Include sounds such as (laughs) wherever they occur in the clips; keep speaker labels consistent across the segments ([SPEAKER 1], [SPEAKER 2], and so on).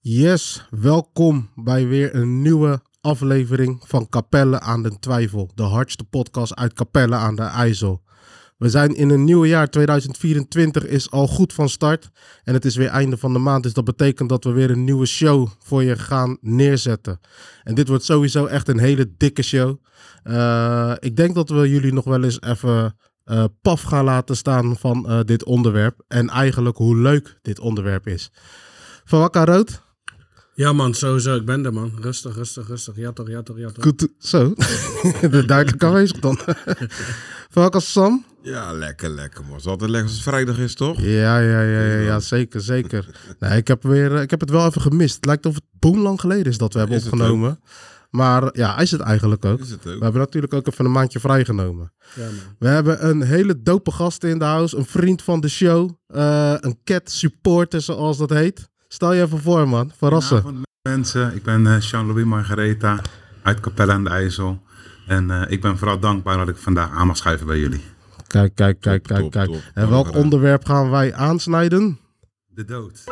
[SPEAKER 1] Yes, welkom bij weer een nieuwe aflevering van Capelle aan den Twijfel. De hardste podcast uit Capelle aan de IJssel. We zijn in een nieuw jaar, 2024 is al goed van start. En het is weer einde van de maand, dus dat betekent dat we weer een nieuwe show voor je gaan neerzetten. En dit wordt sowieso echt een hele dikke show. Eh, ik denk dat we jullie nog wel eens even eh, paf gaan laten staan van eh, dit onderwerp. En eigenlijk hoe leuk dit onderwerp is. Van Wakka Rood,
[SPEAKER 2] Ja man, sowieso. Ik ben er man. Rustig, rustig, rustig. Ja toch, ja toch, ja toch.
[SPEAKER 1] Goed, zo. (laughs) de duidelijk aanwezig dan. (laughs) Welkom Sam.
[SPEAKER 3] Ja, lekker, lekker man. Het is altijd lekker als het vrijdag is, toch?
[SPEAKER 1] Ja, ja, ja, ja, ja zeker, zeker. Nee, ik, heb weer, eh, ik heb het wel even gemist. Het lijkt of het boomlang geleden is dat we hebben
[SPEAKER 3] Is het
[SPEAKER 1] opgenomen. Maar ja, is het eigenlijk ook.
[SPEAKER 3] Is het
[SPEAKER 1] We
[SPEAKER 3] ook.
[SPEAKER 1] hebben natuurlijk ook even een maandje vrijgenomen.
[SPEAKER 2] Ja, man.
[SPEAKER 1] We hebben een hele dope gast in de house. Een vriend van de show. eh, een cat supporter, zoals dat heet. Stel je even voor, man. Verrassen.
[SPEAKER 4] Goedenavond mensen, ik ben eh, Jean-Louis Margaretha uit Capelle aan de IJssel. En eh, ik ben vooral dankbaar dat ik vandaag aan mag schuiven bij jullie.
[SPEAKER 1] Kijk, kijk, kijk,
[SPEAKER 3] Top,
[SPEAKER 1] kijk,
[SPEAKER 3] top,
[SPEAKER 1] kijk.
[SPEAKER 3] top.
[SPEAKER 1] En welk
[SPEAKER 3] Dankbaar.
[SPEAKER 1] onderwerp gaan wij aansnijden?
[SPEAKER 4] De dood.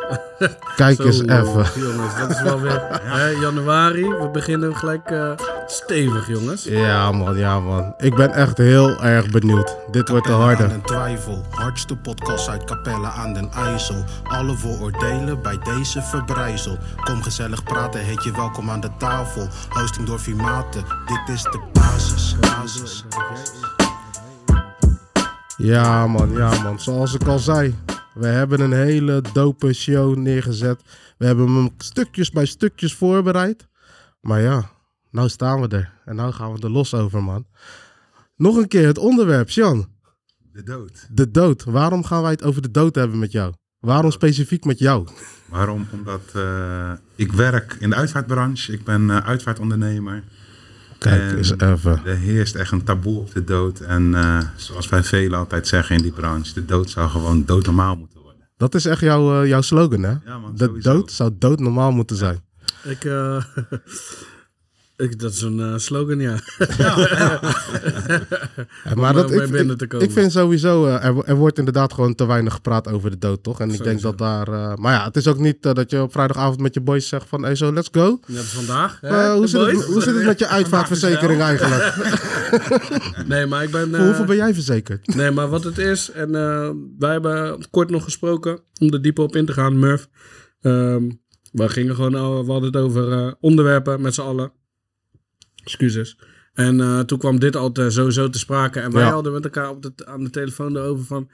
[SPEAKER 1] Kijk
[SPEAKER 2] Zo,
[SPEAKER 1] eens
[SPEAKER 3] eh,
[SPEAKER 1] even.
[SPEAKER 2] Jongens, dat is
[SPEAKER 1] (laughs)
[SPEAKER 2] wel weer hè, januari. We beginnen gelijk eh, stevig, jongens.
[SPEAKER 1] Ja man, ja man. Ik ben echt heel erg benieuwd. Dit wordt de
[SPEAKER 5] Capelle
[SPEAKER 1] harde.
[SPEAKER 5] aan den twijfel, hardste podcast uit Capelle aan den IJssel. Alle vooroordelen bij deze verbrijzel. Kom gezellig praten, heet je welkom aan de tafel. Hosting door Vimaten, dit is de basis, basis.
[SPEAKER 1] Ja man, ja man. Zoals ik al zei, we hebben een hele dope show neergezet. We hebben hem stukjes bij stukjes voorbereid. Maar ja, nou staan we er. En nou gaan we er los over man. Nog een keer het onderwerp, Sjan.
[SPEAKER 4] De dood.
[SPEAKER 1] De dood. Waarom gaan wij het over de dood hebben met jou? Waarom specifiek met jou?
[SPEAKER 4] Waarom? Omdat eh, ik werk in de uitvaartbranche, ik ben eh, uitvaartondernemer.
[SPEAKER 1] Kijk
[SPEAKER 4] En
[SPEAKER 1] eens even.
[SPEAKER 4] Er heerst echt een taboe op de dood. En eh, zoals wij velen altijd zeggen in die branche, de dood zou gewoon doodnormaal moeten worden.
[SPEAKER 1] Dat is echt jouw, eh, jouw slogan hè?
[SPEAKER 4] Ja, man,
[SPEAKER 1] de
[SPEAKER 4] sowieso.
[SPEAKER 1] dood zou doodnormaal moeten zijn.
[SPEAKER 2] Ik, eh, (laughs) ik, dat is een eh, slogan, ja.
[SPEAKER 1] Ja, maar
[SPEAKER 2] om
[SPEAKER 1] dat,
[SPEAKER 2] mee
[SPEAKER 1] ik,
[SPEAKER 2] binnen
[SPEAKER 1] ik,
[SPEAKER 2] te komen.
[SPEAKER 1] ik vind sowieso, eh, er, wo- er wordt inderdaad gewoon te weinig gepraat over de dood, toch? En ik denk
[SPEAKER 2] Sowieso.
[SPEAKER 1] dat daar... eh, maar ja, het is ook niet eh, dat je op vrijdagavond met je boys zegt van... Hey, zo, let's go.
[SPEAKER 2] Net als vandaag. hè,
[SPEAKER 1] Eh, hoe,
[SPEAKER 2] de
[SPEAKER 1] zit het,
[SPEAKER 2] boys.
[SPEAKER 1] hoe zit het met
[SPEAKER 2] (laughs)
[SPEAKER 1] je uitvaartverzekering eigenlijk?
[SPEAKER 2] Nee, maar ik ben...
[SPEAKER 1] Voor hoeveel
[SPEAKER 2] eh,
[SPEAKER 1] ben jij verzekerd?
[SPEAKER 2] Nee, maar wat het is, en eh, wij hebben kort nog gesproken om er dieper op in te gaan, Murph. Ehm, we gingen gewoon, al- we hadden het over eh, onderwerpen met z'n allen. Excuses. En eh, toen kwam dit al te, sowieso te sprake. En wij
[SPEAKER 1] Ja.
[SPEAKER 2] hadden met elkaar op de, aan de telefoon erover van.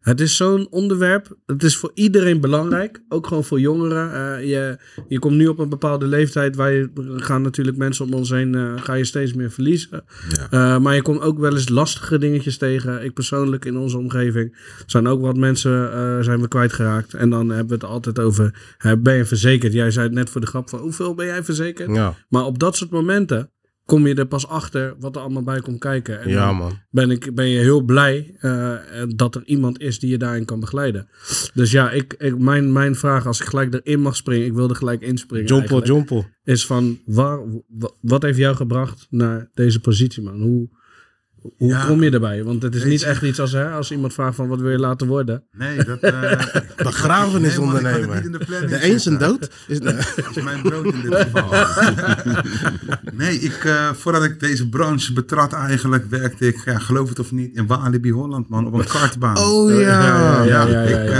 [SPEAKER 2] Het is zo'n onderwerp. Het is voor iedereen belangrijk. Ook gewoon voor jongeren. Eh, je, je komt nu op een bepaalde leeftijd. Wij gaan natuurlijk mensen om ons heen. eh, ga je steeds meer verliezen.
[SPEAKER 3] Ja.
[SPEAKER 2] Eh, maar je komt ook wel eens lastige dingetjes tegen. Ik persoonlijk in onze omgeving zijn ook wat mensen eh, zijn we kwijtgeraakt. En dan hebben we het altijd over, eh, ben je verzekerd? Jij zei het net voor de grap van, hoeveel ben jij verzekerd?
[SPEAKER 1] (laughs) Ja,
[SPEAKER 2] Maar op dat soort momenten kom je er pas achter wat er allemaal bij komt kijken. En
[SPEAKER 1] ja
[SPEAKER 2] dan
[SPEAKER 1] man.
[SPEAKER 2] ben, ik, ben je heel blij eh, eh, dat er iemand is die je daarin kan begeleiden. Dus ja, ik, ik, mijn, mijn vraag als ik gelijk erin mag springen, ik wilde gelijk inspringen
[SPEAKER 1] Jompel,
[SPEAKER 2] eigenlijk,
[SPEAKER 1] jompel.
[SPEAKER 2] is van, waar, wa- wat heeft jou gebracht naar deze positie man? Hoe, hoe
[SPEAKER 4] Ja.
[SPEAKER 2] kom je erbij? Want het is
[SPEAKER 4] Weet
[SPEAKER 2] niet
[SPEAKER 4] je-
[SPEAKER 2] echt iets als, hè, als iemand vraagt van wat wil je laten worden.
[SPEAKER 4] Nee, dat...
[SPEAKER 3] (laughs)
[SPEAKER 4] eh
[SPEAKER 1] Begrafenisondernemer.
[SPEAKER 4] Nee, man, ik had het niet in de planning
[SPEAKER 1] De een zijn
[SPEAKER 4] zitten.
[SPEAKER 1] dood
[SPEAKER 2] (laughs)
[SPEAKER 1] is... Nee.
[SPEAKER 4] Dat is mijn brood in dit geval. nee, ik, eh, voordat ik deze branche betrad eigenlijk, werkte ik, ja, geloof het of niet, in Walibi Holland, man, op een kartbaan.
[SPEAKER 1] Oh ja.
[SPEAKER 2] ja, ja, ja,
[SPEAKER 4] ik,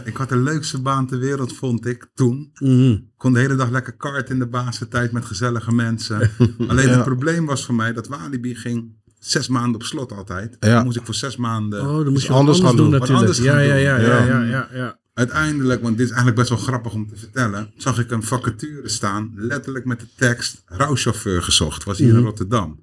[SPEAKER 4] eh, ik had de leukste baan ter wereld, vond ik, toen.
[SPEAKER 2] Mhm.
[SPEAKER 4] Kon de hele dag lekker kart in de basistijd met gezellige
[SPEAKER 2] (laughs)
[SPEAKER 4] mensen. Alleen
[SPEAKER 1] Ja.
[SPEAKER 4] het probleem was voor mij dat Walibi ging zes maanden op slot altijd.
[SPEAKER 1] Ja.
[SPEAKER 4] Dan moest ik voor zes maanden...
[SPEAKER 2] Oh, dan moest
[SPEAKER 1] anders
[SPEAKER 2] je wat anders
[SPEAKER 1] gaan
[SPEAKER 2] gaan doen,
[SPEAKER 1] doen,
[SPEAKER 4] wat
[SPEAKER 2] natuurlijk.
[SPEAKER 4] anders
[SPEAKER 2] Ja,
[SPEAKER 4] gaan
[SPEAKER 2] ja, ja,
[SPEAKER 4] doen.
[SPEAKER 2] ja,
[SPEAKER 4] Ja.
[SPEAKER 2] ja, ja, ja.
[SPEAKER 4] Uiteindelijk, want dit is eigenlijk best wel grappig om te vertellen, zag ik een vacature staan, letterlijk met de tekst rouwchauffeur gezocht, was hier
[SPEAKER 2] Mhm.
[SPEAKER 4] in Rotterdam.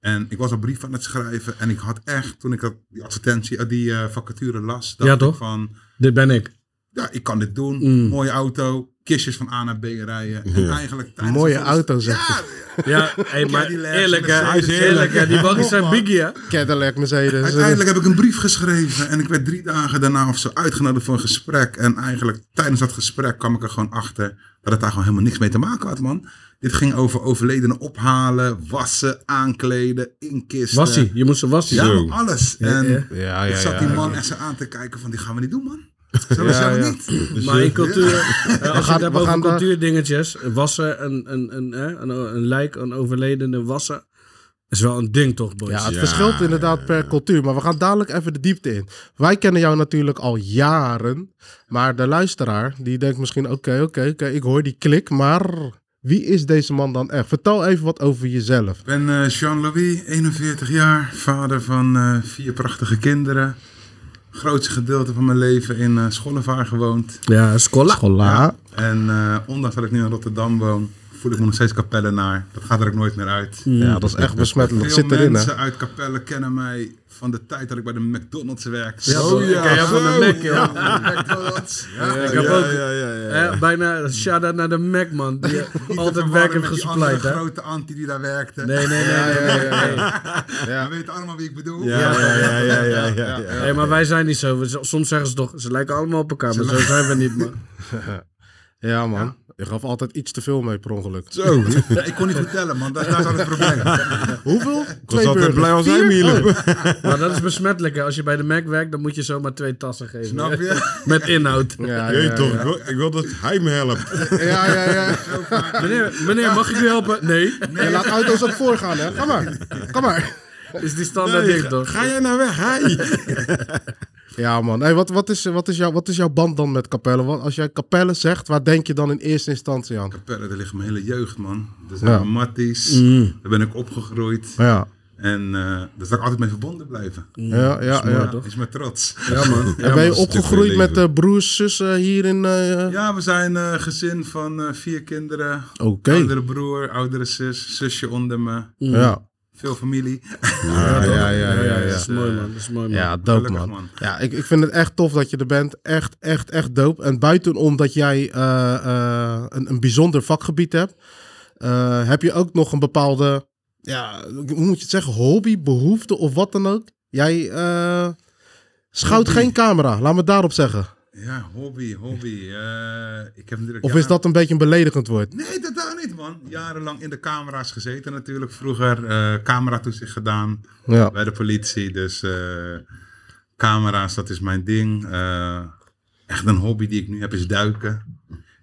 [SPEAKER 4] En ik was een brief aan het schrijven en ik had echt, toen ik dat, die advertentie, eh, die eh, vacature las, dacht
[SPEAKER 2] Ja,
[SPEAKER 4] ik
[SPEAKER 2] toch?
[SPEAKER 4] van,
[SPEAKER 2] Dit ben ik.
[SPEAKER 4] ja, ik kan dit doen,
[SPEAKER 2] Mm.
[SPEAKER 4] mooie auto, kistjes van A naar B rijden. En eigenlijk tijdens
[SPEAKER 1] Mooie
[SPEAKER 4] de volgende-
[SPEAKER 1] auto, zegt
[SPEAKER 4] Ja,
[SPEAKER 2] Ja, hey, maar
[SPEAKER 4] Cadillac,
[SPEAKER 2] eerlijk hè.
[SPEAKER 4] Mercedes.
[SPEAKER 2] Hij is eerlijk hè. Die baggies zijn biggie hè.
[SPEAKER 1] Cadillac, Mercedes. eh,
[SPEAKER 4] Uiteindelijk heb ik een brief geschreven en ik werd drie dagen daarna of zo uitgenodigd voor een gesprek. En eigenlijk tijdens dat gesprek kwam ik er gewoon achter dat het daar gewoon helemaal niks mee te maken had, man. Dit ging over overledenen ophalen, wassen, aankleden, inkisten.
[SPEAKER 2] Wassie, je moest een wassie
[SPEAKER 4] Ja,
[SPEAKER 2] doen.
[SPEAKER 4] man, alles. En
[SPEAKER 2] Ja,
[SPEAKER 1] Ja, ja,
[SPEAKER 4] ik zat
[SPEAKER 1] ja.
[SPEAKER 4] die man echt zo aan te kijken van, die gaan we niet doen, man. Zelfs
[SPEAKER 1] Ja,
[SPEAKER 4] jou
[SPEAKER 1] ja.
[SPEAKER 4] niet.
[SPEAKER 3] Dus,
[SPEAKER 2] Maar
[SPEAKER 3] eh,
[SPEAKER 2] in cultuur, eh, als je
[SPEAKER 1] gaan-
[SPEAKER 2] het
[SPEAKER 1] we
[SPEAKER 2] hebt over
[SPEAKER 1] gaan daar-
[SPEAKER 2] cultuurdingetjes, wassen, een, een, een, hè, een, een lijk, een overledene wassen, is wel een ding toch, boys?
[SPEAKER 1] Ja, het
[SPEAKER 3] Ja,
[SPEAKER 1] verschilt inderdaad
[SPEAKER 3] ja,
[SPEAKER 1] per cultuur. Maar we gaan dadelijk even de diepte in. Wij kennen jou natuurlijk al jaren. Maar de luisteraar, die denkt misschien... Oké, oké, oké, ik hoor die klik. Maar wie is deze man dan echt? Vertel even wat over jezelf.
[SPEAKER 4] Ik ben eh, Jean-Louis, 41 jaar, vader van eh, vier prachtige kinderen. Grootste gedeelte van mijn leven in eh Schollevaar gewoond.
[SPEAKER 2] Ja, Scola.
[SPEAKER 1] Schola.
[SPEAKER 4] En eh, ondanks dat ik nu in Rotterdam woon, voel ik me nog steeds kapellenaar. Dat gaat er ook nooit meer uit.
[SPEAKER 1] Ja, dat is echt besmettelijk. Hmm. Dat zit
[SPEAKER 4] Veel
[SPEAKER 1] erin, hè?
[SPEAKER 4] mensen uit Capelle kennen mij van de tijd dat ik bij de McDonald's werkte.
[SPEAKER 2] Ja, bro, ik ken jou van de
[SPEAKER 4] zo,
[SPEAKER 2] Mac, joh.
[SPEAKER 4] ja, van de McDonald's. Ja,
[SPEAKER 2] ik
[SPEAKER 4] ja.
[SPEAKER 2] heb
[SPEAKER 3] ja,
[SPEAKER 2] ook-
[SPEAKER 3] ja, ja, ja, ja.
[SPEAKER 2] Hè, bijna shout-out naar de Mac, man. Die
[SPEAKER 4] Niet te
[SPEAKER 2] altijd
[SPEAKER 4] verwarren
[SPEAKER 2] werk heeft
[SPEAKER 4] met die
[SPEAKER 2] gespleit,
[SPEAKER 4] andere
[SPEAKER 2] hè?
[SPEAKER 4] grote anti die daar werkte. (laughs)
[SPEAKER 2] Nee, nee, nee. nee, nee, nee.
[SPEAKER 4] We weten allemaal wie ik bedoel. (laughs)
[SPEAKER 3] Ja, ja, ja, ja, ja, ja, ja.
[SPEAKER 2] Hé, maar wij zijn niet zo. We- Soms zeggen ze toch, ze lijken allemaal op elkaar, maar zo zijn we niet, man.
[SPEAKER 1] Ja, man. Je gaf altijd iets te veel mee per ongeluk.
[SPEAKER 3] Zo, ik
[SPEAKER 4] Ja, ik kon niet goed tellen, man. Dat, daar zat het probleem.
[SPEAKER 2] (laughs)
[SPEAKER 1] Hoeveel?
[SPEAKER 3] was altijd blij als hij me hier
[SPEAKER 1] Oh.
[SPEAKER 3] liep.
[SPEAKER 2] Maar dat is besmettelijk, hè. Als je bij de Mac werkt, dan moet je zomaar twee tassen geven.
[SPEAKER 4] Snap je?
[SPEAKER 2] Met inhoud.
[SPEAKER 1] Ja,
[SPEAKER 3] Jeet
[SPEAKER 1] ja,
[SPEAKER 3] toch, ik wil- ik wil dat hij me helpt.
[SPEAKER 1] ja, ja, ja.
[SPEAKER 2] Meneer, meneer, mag ik u helpen? Nee.
[SPEAKER 1] Je laat uit ons ook voorgaan, hè? Kom maar. Kom maar.
[SPEAKER 2] Is die standaard
[SPEAKER 3] Nee,
[SPEAKER 2] ding
[SPEAKER 3] ga-
[SPEAKER 2] toch?
[SPEAKER 3] Ga jij nou weg, hij?
[SPEAKER 1] Ja, man. Hey, wat, wat, is, wat, is jouw, wat is jouw band dan met Capelle? Want als jij Capelle zegt, waar denk je dan in eerste instantie aan?
[SPEAKER 4] Capelle, daar ligt mijn hele jeugd, man. Dus
[SPEAKER 1] Ja. Mm.
[SPEAKER 4] ja. Matties, daar ben ik opgegroeid.
[SPEAKER 1] Ja,
[SPEAKER 4] En eh, daar zal ik altijd mee verbonden blijven.
[SPEAKER 1] ja, ja. ja.
[SPEAKER 4] Is me trots.
[SPEAKER 2] Ja, man.
[SPEAKER 1] En ben je
[SPEAKER 3] dat is
[SPEAKER 1] opgegroeid
[SPEAKER 3] natuurlijk
[SPEAKER 1] met eh, broers, zussen hier in... eh,
[SPEAKER 4] Ja, we zijn eh, een gezin van eh, vier kinderen.
[SPEAKER 1] Oké.
[SPEAKER 4] Oudere broer, oudere zus, zusje onder me.
[SPEAKER 1] Ja.
[SPEAKER 4] Veel familie.
[SPEAKER 1] Ja, ja, ja, ja, ja.
[SPEAKER 2] Dat is mooi, man. Dat is mooi, man.
[SPEAKER 1] Ja, dope
[SPEAKER 4] Gelukkig,
[SPEAKER 1] man.
[SPEAKER 4] man.
[SPEAKER 1] Ja, ik, ik vind het echt tof dat je er bent. Echt, echt, echt dope. En buitenom dat jij eh, eh, een, een bijzonder vakgebied hebt, eh, heb je ook nog een bepaalde, ja, hoe moet je het zeggen, hobby, behoefte of wat dan ook. Jij eh schouwt geen camera, laat me het daarop zeggen.
[SPEAKER 4] Ja, hobby, hobby. Eh, ik heb natuurlijk
[SPEAKER 1] Of is
[SPEAKER 4] jaren-
[SPEAKER 1] dat een beetje een beledigend woord?
[SPEAKER 4] Nee, dat daar niet, man. Jarenlang in de camera's gezeten natuurlijk. Vroeger eh cameratoezicht gedaan
[SPEAKER 1] Ja.
[SPEAKER 4] bij de politie. Dus eh, camera's, dat is mijn ding. Eh, echt een hobby die ik nu heb is duiken.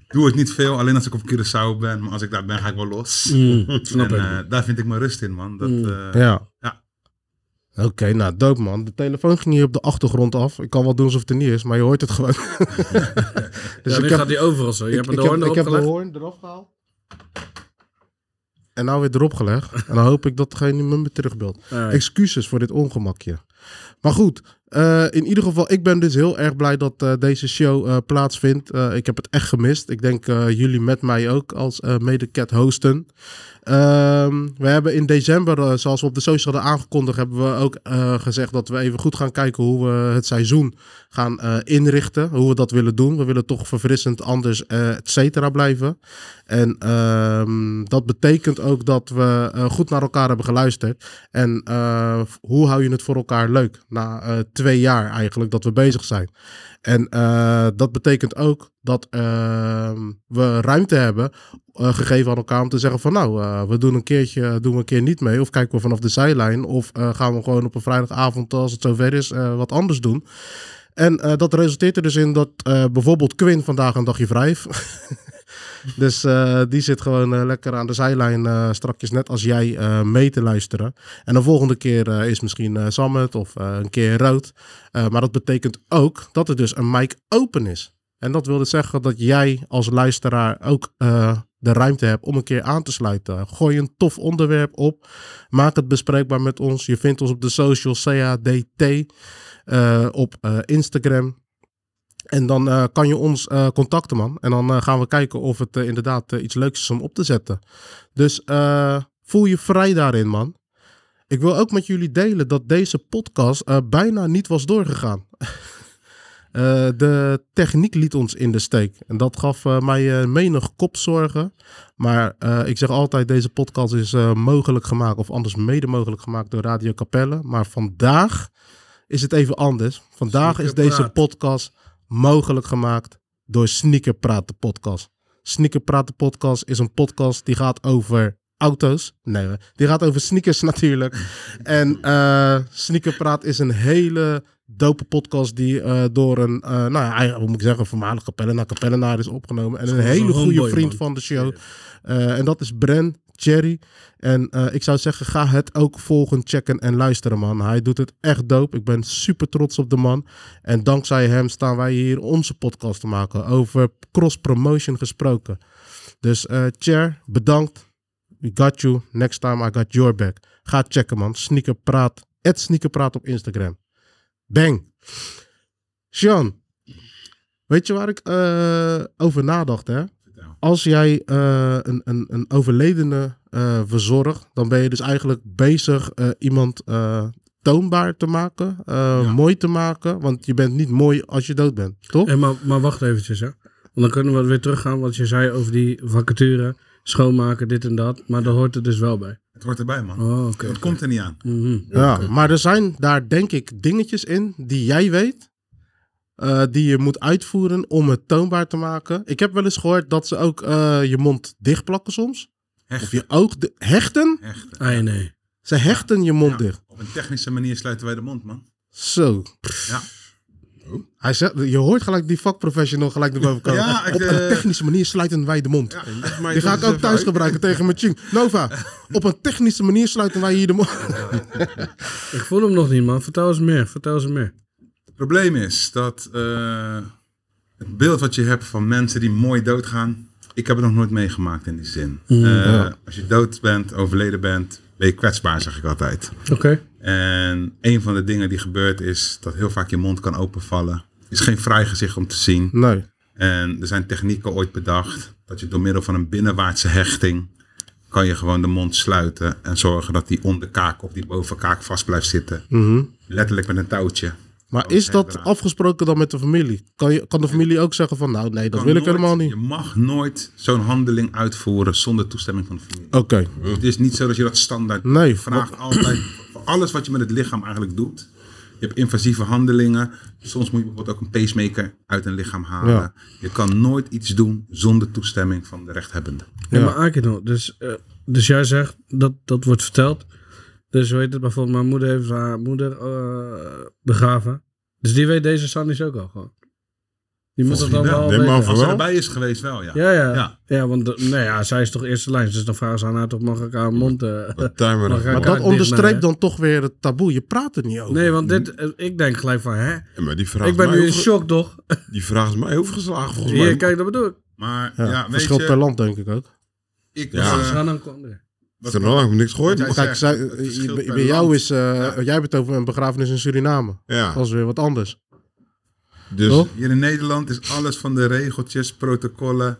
[SPEAKER 4] Ik Doe het niet veel, alleen als ik op Curaçao ben. Maar als ik daar ben, ga ik wel los.
[SPEAKER 1] Mm,
[SPEAKER 4] (laughs)
[SPEAKER 2] Snap
[SPEAKER 4] en
[SPEAKER 2] ik.
[SPEAKER 4] eh, daar vind ik mijn rust in, man. Dat, eh,
[SPEAKER 1] Ja.
[SPEAKER 4] Ja.
[SPEAKER 1] Oké, nou dope man. De telefoon ging hier op de achtergrond af. Ik kan wel doen alsof het er niet is, maar je hoort het gewoon. (laughs)
[SPEAKER 2] Dus
[SPEAKER 1] dus
[SPEAKER 2] ja, nu
[SPEAKER 1] ik heb
[SPEAKER 2] gaat die overal zo. Je
[SPEAKER 1] Ik,
[SPEAKER 2] hebt een
[SPEAKER 1] ik, heb,
[SPEAKER 2] hoorn
[SPEAKER 1] ik heb de
[SPEAKER 2] opgelegd.
[SPEAKER 1] hoorn eraf gehaald. En nou weer erop gelegd. En dan hoop ik dat degene me weer terugbelt.
[SPEAKER 2] Ah,
[SPEAKER 1] Excuses voor dit ongemakje. Maar goed, eh, in ieder geval, ik ben dus heel erg blij dat eh, deze show eh, plaatsvindt. Eh, ik heb het echt gemist. Ik denk eh, jullie met mij ook als eh medecat hosten. Ehm, we hebben in december, eh, zoals we op de social hadden aangekondigd, hebben we ook eh, gezegd dat we even goed gaan kijken hoe we het seizoen gaan eh, inrichten. Hoe we dat willen doen. We willen toch verfrissend anders, eh et cetera, blijven. En ehm, dat betekent ook dat we eh, goed naar elkaar hebben geluisterd. En eh, hoe hou je het voor elkaar leuk na eh, twee jaar eigenlijk dat we bezig zijn? En eh, dat betekent ook dat ehm, we ruimte hebben eh, gegeven aan elkaar om te zeggen van nou, eh, we doen een keertje, doen we een keer niet mee. Of kijken we vanaf de zijlijn. Of eh, gaan we gewoon op een vrijdagavond, als het zover is, eh, wat anders doen. En eh, dat resulteert er dus in dat eh, bijvoorbeeld Quinn vandaag een dagje vrij heeft. (laughs) Dus eh, die zit gewoon eh, lekker aan de zijlijn, eh, strakjes net als jij, eh, mee te luisteren. En de volgende keer eh, is misschien eh Sammet of eh, een keer Rood. Eh, maar dat betekent ook dat er dus een mic open is. En dat wil dus zeggen dat jij als luisteraar ook eh, de ruimte hebt om een keer aan te sluiten. Gooi een tof onderwerp op. Maak het bespreekbaar met ons. Je vindt ons op de socials CADT, eh, op eh, Instagram. En dan eh, kan je ons eh, contacten, man. En dan eh, gaan we kijken of het eh, inderdaad eh, iets leuks is om op te zetten. Dus eh, voel je vrij daarin, man. Ik wil ook met jullie delen dat deze podcast eh, bijna niet was doorgegaan. (laughs) Eh, de techniek liet ons in de steek. En dat gaf eh, mij eh, menig kopzorgen. Maar eh, ik zeg altijd, deze podcast is eh, mogelijk gemaakt... of anders mede mogelijk gemaakt door Radio Capelle. Maar vandaag is het even anders. Vandaag is
[SPEAKER 2] Sneaker
[SPEAKER 1] deze
[SPEAKER 2] Praat.
[SPEAKER 1] podcast mogelijk gemaakt door Sneaker Praat de podcast. Sneaker Praat de podcast is een podcast die gaat over auto's. Nee, hoor. die gaat over sneakers (laughs) natuurlijk. en eh Sneakerpraat is een hele dope podcast die eh, door een, eh, nou ja, eigenlijk, hoe moet ik zeggen, voormalig kapellenaar, kapellenaar is opgenomen. En een
[SPEAKER 2] Gewoon zo'n
[SPEAKER 1] hele goede
[SPEAKER 2] homeboy,
[SPEAKER 1] vriend
[SPEAKER 2] man.
[SPEAKER 1] van de show. Eh, en dat is Bren Cherry. En eh, ik zou zeggen, ga het ook volgen, checken en luisteren, man. Hij doet het echt dope. Ik ben super trots op de man. En dankzij hem staan wij hier onze podcast te maken. Over cross-promotion gesproken. Dus eh Cher, bedankt. We got you. Next time I got your back. Ga checken, man. Sneakerpraat. Het Sneakerpraat op Instagram. Bang. Sean, weet je waar ik eh, over nadacht, hè? Als jij eh, een, een, een overledene eh, verzorgt, dan ben je dus eigenlijk bezig eh, iemand eh, toonbaar te maken, eh, mooi te maken. Want je bent niet mooi als je dood bent, toch?
[SPEAKER 2] Hey, maar, maar wacht eventjes, hè. Want dan kunnen we weer teruggaan wat je zei over die vacature, schoonmaken, dit en dat. Maar daar hoort het dus wel bij.
[SPEAKER 4] Het hoort erbij, man.
[SPEAKER 2] Oh, oké.
[SPEAKER 4] Het komt er niet aan.
[SPEAKER 2] Mhm.
[SPEAKER 1] Ja,
[SPEAKER 4] eh,
[SPEAKER 1] maar er zijn daar denk ik dingetjes in die jij weet, eh, die je moet uitvoeren om het toonbaar te maken. Ik heb wel eens gehoord dat ze ook eh, je mond dichtplakken soms. Of
[SPEAKER 4] Hechten.
[SPEAKER 1] je oog di- hechten.
[SPEAKER 4] Hechten.
[SPEAKER 2] Ah, nee.
[SPEAKER 1] Ze hechten je mond dicht.
[SPEAKER 4] Op een technische manier sluiten wij de mond, man.
[SPEAKER 1] Zo. Oh.
[SPEAKER 4] Ja.
[SPEAKER 1] Hij zegt, je hoort gelijk die vakprofessional gelijk naar boven komen.
[SPEAKER 4] Ja, ik,
[SPEAKER 1] op
[SPEAKER 4] eh,
[SPEAKER 1] een technische manier sluiten wij de mond. die ga ik ook thuis gebruiken tegen mijn ching. Nova,
[SPEAKER 4] (laughs)
[SPEAKER 1] op een technische manier sluiten wij hier de mond.
[SPEAKER 2] Ik voel hem nog niet, man. Vertel eens meer. Vertel eens meer.
[SPEAKER 4] Het probleem is dat eh, het beeld wat je hebt van mensen die mooi doodgaan, ik heb het nog nooit meegemaakt in die zin.
[SPEAKER 1] Mm,
[SPEAKER 4] Eh, Als je dood bent, overleden bent, ben je kwetsbaar, zeg ik altijd.
[SPEAKER 2] Oké.
[SPEAKER 4] En een van de dingen die gebeurt is dat heel vaak je mond kan openvallen. Er is geen vrij gezicht om te zien.
[SPEAKER 1] Nee.
[SPEAKER 4] En er zijn technieken ooit bedacht dat je door middel van een binnenwaartse hechting kan je gewoon de mond sluiten en zorgen dat die onderkaak of die bovenkaak vast blijft zitten.
[SPEAKER 1] Mhm.
[SPEAKER 4] Letterlijk met een touwtje.
[SPEAKER 1] Maar is dat afgesproken dan met de familie? Kan, je, kan de familie ook zeggen van, nou nee, dat wil ik
[SPEAKER 4] Nooit-
[SPEAKER 1] helemaal niet.
[SPEAKER 4] Je mag nooit zo'n handeling uitvoeren zonder toestemming van de familie.
[SPEAKER 1] Oké.
[SPEAKER 4] Het is niet zo dat je dat standaard doet.
[SPEAKER 1] Mhm. Nee.
[SPEAKER 4] Je vraagt altijd voor alles wat je met het lichaam eigenlijk doet. Je hebt invasieve handelingen. Soms moet je bijvoorbeeld ook een pacemaker uit een lichaam halen.
[SPEAKER 1] Ja.
[SPEAKER 4] Je kan nooit iets doen zonder toestemming van de rechthebbende.
[SPEAKER 2] Ja. maar Akino, dus, eh, dus jij zegt, dat, dat wordt verteld. Dus hoe heet het bijvoorbeeld, mijn moeder heeft haar moeder eh, begraven. Dus die weet deze Sandy's ook al gewoon. Die moet het dan
[SPEAKER 3] mij
[SPEAKER 2] wel
[SPEAKER 3] wel. Nee, maar
[SPEAKER 2] weten.
[SPEAKER 3] voor-
[SPEAKER 4] Als ze
[SPEAKER 3] Wel?
[SPEAKER 4] erbij is geweest wel, ja.
[SPEAKER 2] Ja, ja. ja.
[SPEAKER 4] Ja.
[SPEAKER 2] want de- nou ja, zij is toch eerste lijn. Dus dan vragen ze aan haar toch, mag ik haar mond... eh,
[SPEAKER 3] Wat timer.
[SPEAKER 2] Mag ik
[SPEAKER 1] Maar
[SPEAKER 2] haar
[SPEAKER 1] dat
[SPEAKER 2] kaart
[SPEAKER 1] onderstreept
[SPEAKER 2] dichtnaaien?
[SPEAKER 1] dan toch weer het taboe. Je praat er niet over.
[SPEAKER 2] (laughs) Nee, want dit, eh, ik denk gelijk van, hè?
[SPEAKER 3] Ja, maar die vraag
[SPEAKER 2] Ik ben
[SPEAKER 3] is mij
[SPEAKER 2] nu in
[SPEAKER 3] over-
[SPEAKER 2] shock, toch?
[SPEAKER 3] Die vraag is mij overgeslagen volgens mij.
[SPEAKER 2] (laughs) Hier, kijk, dat bedoel ik.
[SPEAKER 4] Maar ja,
[SPEAKER 1] Ja,
[SPEAKER 4] weet
[SPEAKER 1] verschil
[SPEAKER 4] je,
[SPEAKER 1] per land denk ik ook.
[SPEAKER 4] ik
[SPEAKER 3] Ja.
[SPEAKER 4] was,
[SPEAKER 2] Ze
[SPEAKER 4] eh,
[SPEAKER 2] gaan dan komen.
[SPEAKER 3] Wat er nou? Ik heb niks gehoord.
[SPEAKER 4] Ja,
[SPEAKER 1] Kijk,
[SPEAKER 4] zegt,
[SPEAKER 1] zij,
[SPEAKER 4] het verschilt
[SPEAKER 1] bij-
[SPEAKER 4] per
[SPEAKER 1] bij jou
[SPEAKER 4] land.
[SPEAKER 1] is, eh, jij hebt het over een begrafenis in Suriname.
[SPEAKER 3] Ja,
[SPEAKER 1] Dat is weer wat anders.
[SPEAKER 3] dus
[SPEAKER 1] Toch?
[SPEAKER 4] hier in Nederland is alles van de regeltjes, protocollen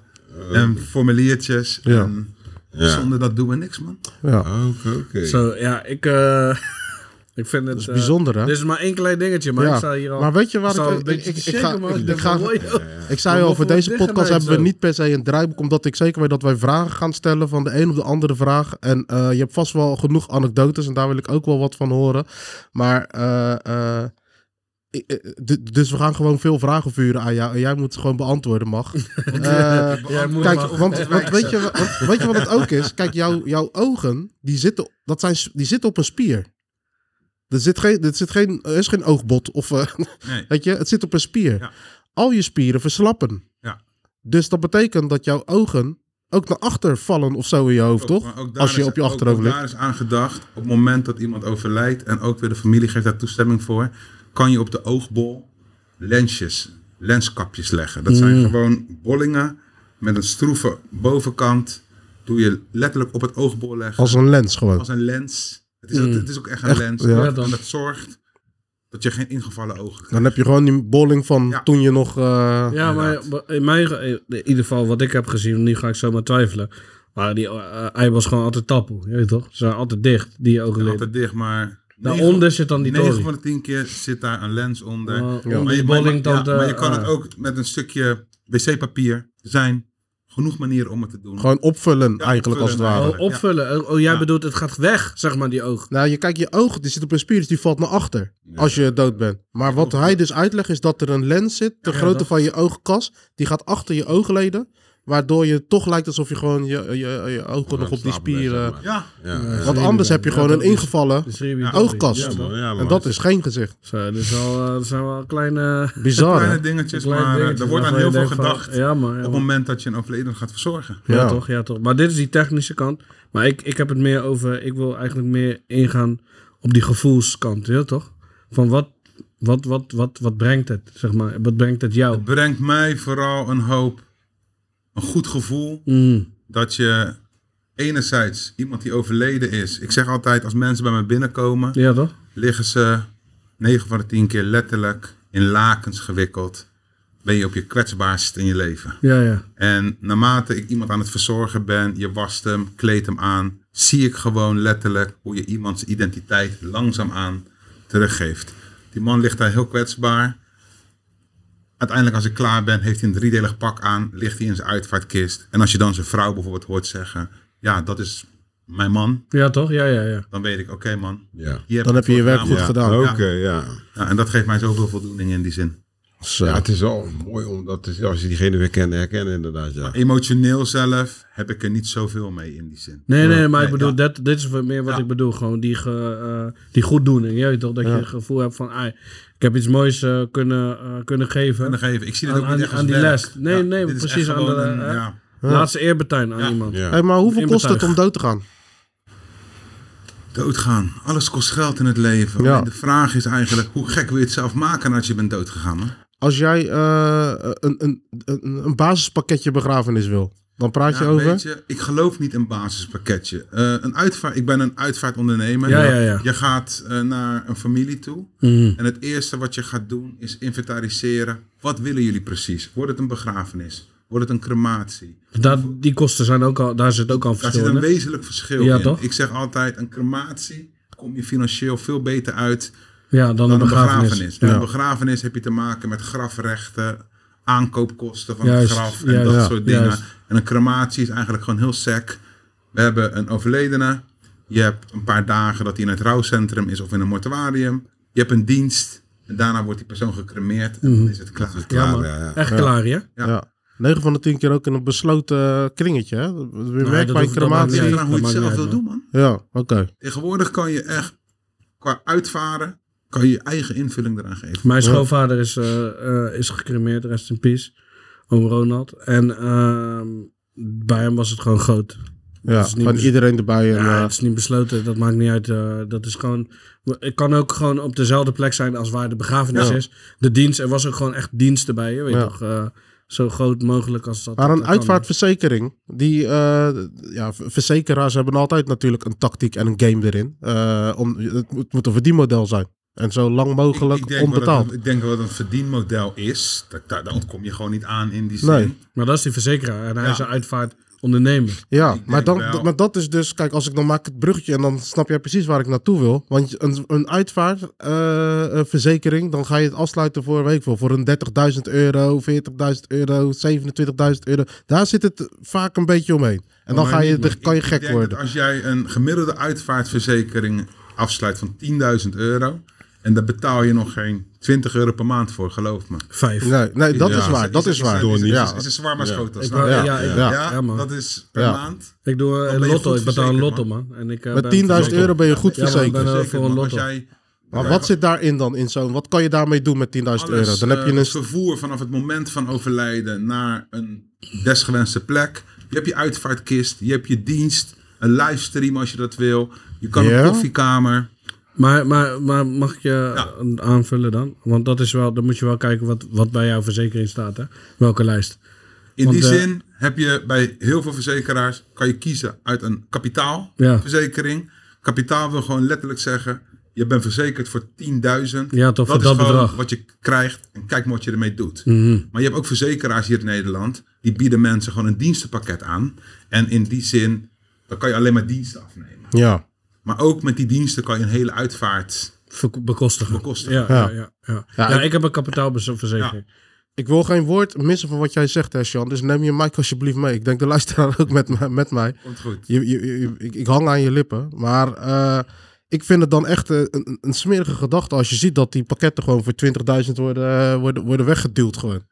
[SPEAKER 4] en formuliertjes.
[SPEAKER 1] Eh. Ja.
[SPEAKER 4] En
[SPEAKER 3] Ja.
[SPEAKER 4] Zonder dat doen we niks, man.
[SPEAKER 1] Ja.
[SPEAKER 3] Ah, Oké, oké.
[SPEAKER 2] Zo, ja, ik, eh, (laughs) ik vind het...
[SPEAKER 1] Dat is
[SPEAKER 2] eh,
[SPEAKER 1] bijzonder, hè?
[SPEAKER 2] Dit is maar één klein dingetje, maar
[SPEAKER 1] Ja.
[SPEAKER 2] ik sta hier al...
[SPEAKER 1] Maar weet je waar
[SPEAKER 2] ik... sta
[SPEAKER 1] ik-
[SPEAKER 2] al een beetje
[SPEAKER 1] ik-
[SPEAKER 2] te
[SPEAKER 1] ik- ik ga-
[SPEAKER 2] shaken, man.
[SPEAKER 1] ik-
[SPEAKER 2] Ik denk
[SPEAKER 1] ik
[SPEAKER 2] van,
[SPEAKER 1] ga-
[SPEAKER 2] mooi, joh.
[SPEAKER 1] Ik zei al,
[SPEAKER 2] Wat
[SPEAKER 1] voor
[SPEAKER 2] voor
[SPEAKER 1] deze
[SPEAKER 2] dichtgenaaid
[SPEAKER 1] podcast hebben we
[SPEAKER 2] zo.
[SPEAKER 1] niet per se een draaiboek, omdat ik zeker weet dat wij vragen gaan stellen van de een op de andere vraag. En eh, je hebt vast wel genoeg anekdotes en daar wil ik ook wel wat van horen. Maar, eh, eh, ik- eh, d- dus we gaan gewoon veel vragen vuren aan jou en jij moet ze gewoon beantwoorden, mag.
[SPEAKER 2] (laughs)
[SPEAKER 1] Eh,
[SPEAKER 2] Jij moet
[SPEAKER 1] Kijk,
[SPEAKER 2] hem af-
[SPEAKER 1] want, want weet, je, wat- weet je wat het ook is? Kijk, jouw- jouw ogen, die zitten, dat zijn, die zitten op een spier. Er, zit geen, er, zit geen, er is geen oogbot. Of, eh,
[SPEAKER 4] Nee.
[SPEAKER 1] weet je, het zit op een spier.
[SPEAKER 4] Ja.
[SPEAKER 1] Al je spieren verslappen.
[SPEAKER 4] Ja.
[SPEAKER 1] Dus dat betekent dat jouw ogen ook naar achter vallen of zo in je hoofd,
[SPEAKER 4] Ook,
[SPEAKER 1] toch?
[SPEAKER 4] maar ook daar
[SPEAKER 1] Als je
[SPEAKER 4] is-
[SPEAKER 1] op je
[SPEAKER 4] ook-
[SPEAKER 1] achterover
[SPEAKER 4] ook
[SPEAKER 1] ligt.
[SPEAKER 4] Daar is aan gedacht, op het moment dat iemand overlijdt en ook weer de familie geeft daar toestemming voor, kan je op de oogbol lensjes, lenskapjes leggen. Dat zijn
[SPEAKER 1] Mm.
[SPEAKER 4] gewoon bollingen met een stroeve bovenkant. Doe je letterlijk op het oogbol leggen.
[SPEAKER 1] Als een lens gewoon.
[SPEAKER 4] Als een lens. Het is, het is ook echt een lens.
[SPEAKER 1] Oh. ja.
[SPEAKER 2] Mm. Ja, dan.
[SPEAKER 4] En dat zorgt dat je geen ingevallen ogen krijgt.
[SPEAKER 1] Dan heb je gewoon die bolling van
[SPEAKER 4] Ja.
[SPEAKER 1] toen je nog... eh,
[SPEAKER 2] Ja, maar
[SPEAKER 4] Inderdaad.
[SPEAKER 2] in, mijn, ge- in ieder geval wat ik heb gezien, nu ga ik zomaar twijfelen. Maar die eh, ei was gewoon altijd tappel, je weet toch? Ze zijn altijd dicht, die ogenleden.
[SPEAKER 4] Altijd dicht, maar...
[SPEAKER 2] Daaronder
[SPEAKER 4] negen-
[SPEAKER 2] zit dan Nou, die
[SPEAKER 4] 9
[SPEAKER 2] dorie.
[SPEAKER 4] van de 10 keer zit daar een lens onder.
[SPEAKER 2] Oh,
[SPEAKER 4] Ja,
[SPEAKER 2] onder
[SPEAKER 4] maar,
[SPEAKER 2] die
[SPEAKER 4] je, maar-
[SPEAKER 2] bolling
[SPEAKER 4] maar- ja,
[SPEAKER 2] dan, eh,
[SPEAKER 4] maar je kan het
[SPEAKER 2] ah.
[SPEAKER 4] ook met een stukje wc-papier. Er zijn genoeg manieren om het te doen.
[SPEAKER 1] Gewoon opvullen eigenlijk,
[SPEAKER 4] opvullen
[SPEAKER 1] als het ware.
[SPEAKER 2] Oh,
[SPEAKER 4] Ja.
[SPEAKER 2] opvullen. Oh, oh, jij bedoelt het gaat weg, zeg maar, die oog.
[SPEAKER 1] Nou, je kijkt je oog, die zit op een spier, dus die valt naar achter als je dood bent. Maar wat hij dus uitlegt is dat er een lens zit, de grootte van je oogkas, die gaat achter je oogleden. Waardoor je toch lijkt alsof je gewoon je, je, je ogen nog op die
[SPEAKER 3] slapen bent,
[SPEAKER 1] spieren...
[SPEAKER 3] zeg maar.
[SPEAKER 4] Ja,
[SPEAKER 3] Ja,
[SPEAKER 1] Want anders heb je gewoon een ingevallen oogkast.
[SPEAKER 2] Ja, man.
[SPEAKER 3] ja,
[SPEAKER 1] en
[SPEAKER 3] maar
[SPEAKER 1] dat is geen gezicht.
[SPEAKER 2] Zo, dit is wel, eh, dat zijn wel kleine...
[SPEAKER 1] Bizar, hè?
[SPEAKER 4] kleine dingetjes,
[SPEAKER 2] kleine
[SPEAKER 4] maar eh,
[SPEAKER 2] dingetjes
[SPEAKER 4] er wordt aan
[SPEAKER 2] waarvan
[SPEAKER 4] heel
[SPEAKER 2] je
[SPEAKER 4] veel
[SPEAKER 2] denkt van,
[SPEAKER 4] gedacht
[SPEAKER 2] Ja, maar...
[SPEAKER 4] op
[SPEAKER 2] ja,
[SPEAKER 4] het
[SPEAKER 2] man.
[SPEAKER 4] moment dat je een overleden gaat verzorgen.
[SPEAKER 2] Ja,
[SPEAKER 1] Ja.
[SPEAKER 2] toch, ja, toch. Maar dit is die technische kant. Maar ik, ik heb het meer over, ik wil eigenlijk meer ingaan op die gevoelskant, ja, toch? Van wat, wat, wat, wat, wat brengt het, zeg maar? Wat brengt het jou?
[SPEAKER 4] Het brengt mij vooral een hoop, een goed gevoel
[SPEAKER 2] Mm.
[SPEAKER 4] dat je enerzijds iemand die overleden is. Ik zeg altijd, als mensen bij me binnenkomen,
[SPEAKER 2] Ja, toch?
[SPEAKER 4] liggen ze 9 van de 10 keer letterlijk in lakens gewikkeld. Ben je op je kwetsbaarst in je leven.
[SPEAKER 2] Ja, ja.
[SPEAKER 4] En naarmate ik iemand aan het verzorgen ben, je wast hem, kleedt hem aan, zie ik gewoon letterlijk hoe je iemands identiteit langzaamaan teruggeeft. Die man ligt daar heel kwetsbaar. Uiteindelijk, als ik klaar ben, heeft hij een driedelig pak aan, ligt hij in zijn uitvaartkist. En als je dan zijn vrouw bijvoorbeeld hoort zeggen: Ja, dat is mijn man,
[SPEAKER 2] Ja, toch? Ja, ja, ja.
[SPEAKER 4] dan weet ik, oké man.
[SPEAKER 3] Ja.
[SPEAKER 4] hier
[SPEAKER 1] Dan
[SPEAKER 4] ik
[SPEAKER 1] heb je je
[SPEAKER 4] voor
[SPEAKER 1] werk
[SPEAKER 4] gedaan,
[SPEAKER 1] goed
[SPEAKER 4] man.
[SPEAKER 1] gedaan.
[SPEAKER 3] Oké, ja.
[SPEAKER 4] Ja, en dat geeft mij zoveel voldoening in die zin.
[SPEAKER 1] Zo.
[SPEAKER 3] Ja, het is wel mooi om dat te zien. Als je diegene weer kent, herkennen inderdaad, ja.
[SPEAKER 4] Emotioneel zelf heb ik er niet zoveel mee in die zin.
[SPEAKER 2] Nee, nee, maar ik
[SPEAKER 4] Nee,
[SPEAKER 2] bedoel,
[SPEAKER 4] ja.
[SPEAKER 2] dat, dit is wat- meer wat
[SPEAKER 4] Ja.
[SPEAKER 2] ik bedoel. Gewoon die, ge, eh, die goeddoening, je weet toch? Dat je het gevoel hebt van, ah, ik heb iets moois eh, kunnen, eh, kunnen geven.
[SPEAKER 4] kunnen geven. Ik zie dat
[SPEAKER 2] Aan-
[SPEAKER 4] ook niet
[SPEAKER 2] aan-
[SPEAKER 4] echt als
[SPEAKER 2] aan die
[SPEAKER 4] werk.
[SPEAKER 2] les. Nee, nee,
[SPEAKER 4] dit is
[SPEAKER 2] precies
[SPEAKER 4] echt
[SPEAKER 2] aan
[SPEAKER 4] gewoon
[SPEAKER 2] de-
[SPEAKER 4] een-
[SPEAKER 2] hè?
[SPEAKER 4] ja.
[SPEAKER 2] Laatste eerbetoon aan
[SPEAKER 4] Ja.
[SPEAKER 2] iemand.
[SPEAKER 3] ja.
[SPEAKER 1] Hey, maar hoeveel kost het
[SPEAKER 2] Inbetuig.
[SPEAKER 1] om dood te gaan?
[SPEAKER 4] Doodgaan. Alles kost geld in het leven.
[SPEAKER 1] Ja.
[SPEAKER 4] Alleen de vraag is eigenlijk, hoe gek wil je het zelf maken nadat je bent doodgegaan? Hè?
[SPEAKER 1] Als jij eh, een, een, een, een basispakketje begrafenis wil, dan praat je
[SPEAKER 4] Ja,
[SPEAKER 1] over...
[SPEAKER 4] Weet je, ik geloof niet in basispakketje. Eh, een uitvaart, ik ben een uitvaartondernemer.
[SPEAKER 2] Ja, ja, ja.
[SPEAKER 4] Je gaat eh, naar een familie toe.
[SPEAKER 2] Mhm.
[SPEAKER 4] En het eerste wat je gaat doen is inventariseren. Wat willen jullie precies? Wordt het een begrafenis? Wordt het een crematie?
[SPEAKER 2] Daar, die kosten zijn ook al, daar zit ook al
[SPEAKER 4] Daar
[SPEAKER 2] verschil
[SPEAKER 4] zit
[SPEAKER 2] in.
[SPEAKER 4] een
[SPEAKER 2] hè?
[SPEAKER 4] wezenlijk verschil
[SPEAKER 2] Ja,
[SPEAKER 4] in.
[SPEAKER 2] toch?
[SPEAKER 4] Ik zeg altijd, een crematie kom je financieel veel beter uit
[SPEAKER 2] Ja, dan,
[SPEAKER 4] dan
[SPEAKER 2] een begrafenis.
[SPEAKER 4] Bij een
[SPEAKER 2] Ja.
[SPEAKER 4] begrafenis heb je te maken met grafrechten, aankoopkosten van
[SPEAKER 2] Juist,
[SPEAKER 4] het graf en
[SPEAKER 2] juist,
[SPEAKER 4] dat
[SPEAKER 2] ja,
[SPEAKER 4] soort dingen.
[SPEAKER 2] juist.
[SPEAKER 4] En een crematie is eigenlijk gewoon heel sec. We hebben een overledene. Je hebt een paar dagen dat hij in het rouwcentrum is of in een mortuarium. Je hebt een dienst. En daarna wordt die persoon gecremeerd en
[SPEAKER 2] Mhm.
[SPEAKER 4] dan is het klaar.
[SPEAKER 2] Ja, man.
[SPEAKER 3] ja, ja.
[SPEAKER 2] Echt klaar, hè?
[SPEAKER 1] Ja.
[SPEAKER 4] Ja.
[SPEAKER 1] 9 van de 10 keer ook in een besloten eh, kringetje. Hè? Weer werk bij een
[SPEAKER 2] hoeft- dat maakt
[SPEAKER 1] crematie.
[SPEAKER 2] niet
[SPEAKER 4] Het
[SPEAKER 2] uit.
[SPEAKER 4] ligt
[SPEAKER 1] Ja,
[SPEAKER 4] eraan hoe
[SPEAKER 2] dat
[SPEAKER 4] je het
[SPEAKER 2] maakt
[SPEAKER 4] zelf
[SPEAKER 2] niet
[SPEAKER 4] wil
[SPEAKER 2] uit,
[SPEAKER 4] doen, man.
[SPEAKER 1] oké.
[SPEAKER 4] Tegenwoordig kan je echt qua uitvaren, kan je je eigen invulling eraan geven.
[SPEAKER 2] Mijn schoonvader is, eh, eh, is gecremeerd, rest in peace. Oom Ronald. En ehm, bij hem was het gewoon groot.
[SPEAKER 1] Ja,
[SPEAKER 2] is niet
[SPEAKER 1] van
[SPEAKER 2] bes-
[SPEAKER 1] iedereen erbij. En,
[SPEAKER 2] Ja,
[SPEAKER 1] eh,
[SPEAKER 2] het is niet besloten, dat maakt niet uit. eh, dat is gewoon... Het kan ook gewoon op dezelfde plek zijn als waar de begrafenis
[SPEAKER 1] Ja.
[SPEAKER 2] is. De dienst, er was ook gewoon echt dienst erbij, je weet
[SPEAKER 1] Ja.
[SPEAKER 2] toch? eh, zo groot mogelijk als dat.
[SPEAKER 1] maar
[SPEAKER 2] dat
[SPEAKER 1] een
[SPEAKER 2] kan.
[SPEAKER 1] uitvaartverzekering, die eh, ja, v- verzekeraars hebben altijd natuurlijk een tactiek en een game erin. Eh, om, het, moet, het moet een verdienmodel zijn. En zo lang mogelijk
[SPEAKER 4] ik, ik denk wel dat
[SPEAKER 1] onbetaald.
[SPEAKER 4] het- ik denk wel dat het een verdienmodel is. Dat, daar, daar ontkom je gewoon niet aan in die zin.
[SPEAKER 1] Nee.
[SPEAKER 2] Maar dat is die verzekeraar. En hij
[SPEAKER 4] Ja.
[SPEAKER 2] is een uitvaartondernemer.
[SPEAKER 1] Ja,
[SPEAKER 4] denk
[SPEAKER 1] maar, dan,
[SPEAKER 4] wel.
[SPEAKER 1] maar dat is dus, kijk, als ik dan maak ik het bruggetje en dan snap jij precies waar ik naartoe wil. Want een, een uitvaartverzekering, dan ga je het afsluiten voor, weet ik veel, voor een 30.000 euro, 40.000 euro, 27.000 euro. Daar zit het vaak een beetje omheen. En dan
[SPEAKER 4] Maar
[SPEAKER 1] ga je,
[SPEAKER 4] niet,
[SPEAKER 1] dan
[SPEAKER 4] maar
[SPEAKER 1] kan je
[SPEAKER 4] ik
[SPEAKER 1] gek
[SPEAKER 4] denk dat
[SPEAKER 1] worden.
[SPEAKER 4] Als jij een gemiddelde uitvaartverzekering afsluit van 10.000 euro. En daar betaal je nog geen 20 euro per maand voor, geloof me.
[SPEAKER 2] Vijf.
[SPEAKER 1] Nee, nee, dat
[SPEAKER 3] Ja,
[SPEAKER 1] is waar, dat is waar.
[SPEAKER 4] Is, is,
[SPEAKER 1] Ja,
[SPEAKER 4] is, een zwaar maar schotel.
[SPEAKER 2] Ik
[SPEAKER 4] snap je?
[SPEAKER 2] wou-
[SPEAKER 1] Ja,
[SPEAKER 2] ja, ik-
[SPEAKER 1] ja.
[SPEAKER 2] ja,
[SPEAKER 4] Ja,
[SPEAKER 2] man.
[SPEAKER 4] dat is per
[SPEAKER 1] Ja.
[SPEAKER 4] maand.
[SPEAKER 2] ik doe
[SPEAKER 4] Dan
[SPEAKER 2] een
[SPEAKER 4] ben je
[SPEAKER 2] lotto.
[SPEAKER 4] goed
[SPEAKER 2] Ik betaal een lotto,
[SPEAKER 4] verzekerd,
[SPEAKER 2] man. En ik, eh, ben
[SPEAKER 1] Met 10.000
[SPEAKER 2] verzekerd.
[SPEAKER 1] euro ben je goed
[SPEAKER 2] Ja, maar ik
[SPEAKER 1] verzekerd.
[SPEAKER 2] ben-
[SPEAKER 4] Zeker,
[SPEAKER 2] voor een
[SPEAKER 4] want
[SPEAKER 2] lotto.
[SPEAKER 4] Als jij
[SPEAKER 1] Maar wat zit daarin dan in zo'n, wat kan je daarmee doen met 10.000 euro?
[SPEAKER 4] alles,
[SPEAKER 1] Dan heb je
[SPEAKER 4] eh,
[SPEAKER 1] een...
[SPEAKER 4] het vervoer vanaf het moment van overlijden naar een desgewenste plek. Je hebt je uitvaartkist, je hebt je dienst, een livestream als je dat wil. Je kan
[SPEAKER 1] Ja.
[SPEAKER 4] op koffiekamer.
[SPEAKER 2] Maar, maar, maar mag ik je
[SPEAKER 4] Ja.
[SPEAKER 2] een- aanvullen dan? Want dat is wel, dan moet je wel kijken wat, wat bij jouw verzekering staat. Hè? Welke lijst?
[SPEAKER 4] In
[SPEAKER 2] Want,
[SPEAKER 4] die
[SPEAKER 2] eh,
[SPEAKER 4] zin heb je bij heel veel verzekeraars kan je kiezen uit een
[SPEAKER 2] Ja.
[SPEAKER 4] kapitaalverzekering. Kapitaal wil gewoon letterlijk zeggen. Je bent verzekerd voor 10.000.
[SPEAKER 2] Ja, toch, voor
[SPEAKER 4] is
[SPEAKER 2] dat
[SPEAKER 4] gewoon
[SPEAKER 2] bedrag. Mhm.
[SPEAKER 4] wat je krijgt en kijk maar wat je ermee doet. Maar je hebt ook verzekeraars hier in Nederland. Die bieden mensen gewoon een dienstenpakket aan. En in die zin, dan kan je alleen maar diensten afnemen.
[SPEAKER 1] Ja,
[SPEAKER 4] Maar ook met die diensten kan je een hele uitvaart
[SPEAKER 2] Verko- Bekostigen.
[SPEAKER 4] bekostigen.
[SPEAKER 2] Ja, ja, ja. ja.
[SPEAKER 1] Ja,
[SPEAKER 2] Ja,
[SPEAKER 1] ik-
[SPEAKER 2] ik heb een kapitaalverzekering.
[SPEAKER 1] Ik wil geen woord missen van wat jij zegt, hè, Sean. Dus neem je mic alsjeblieft mee. Ik denk de luisteraar (laughs) ook met, mij- met mij.
[SPEAKER 4] Komt goed.
[SPEAKER 1] Je, je, je- ik, ik hang aan je lippen. Maar eh, ik vind het dan echt eh, een, een- een smerige gedachte als je ziet dat die pakketten gewoon voor 20.000 worden, eh, worden, worden weggeduwd. Gewoon.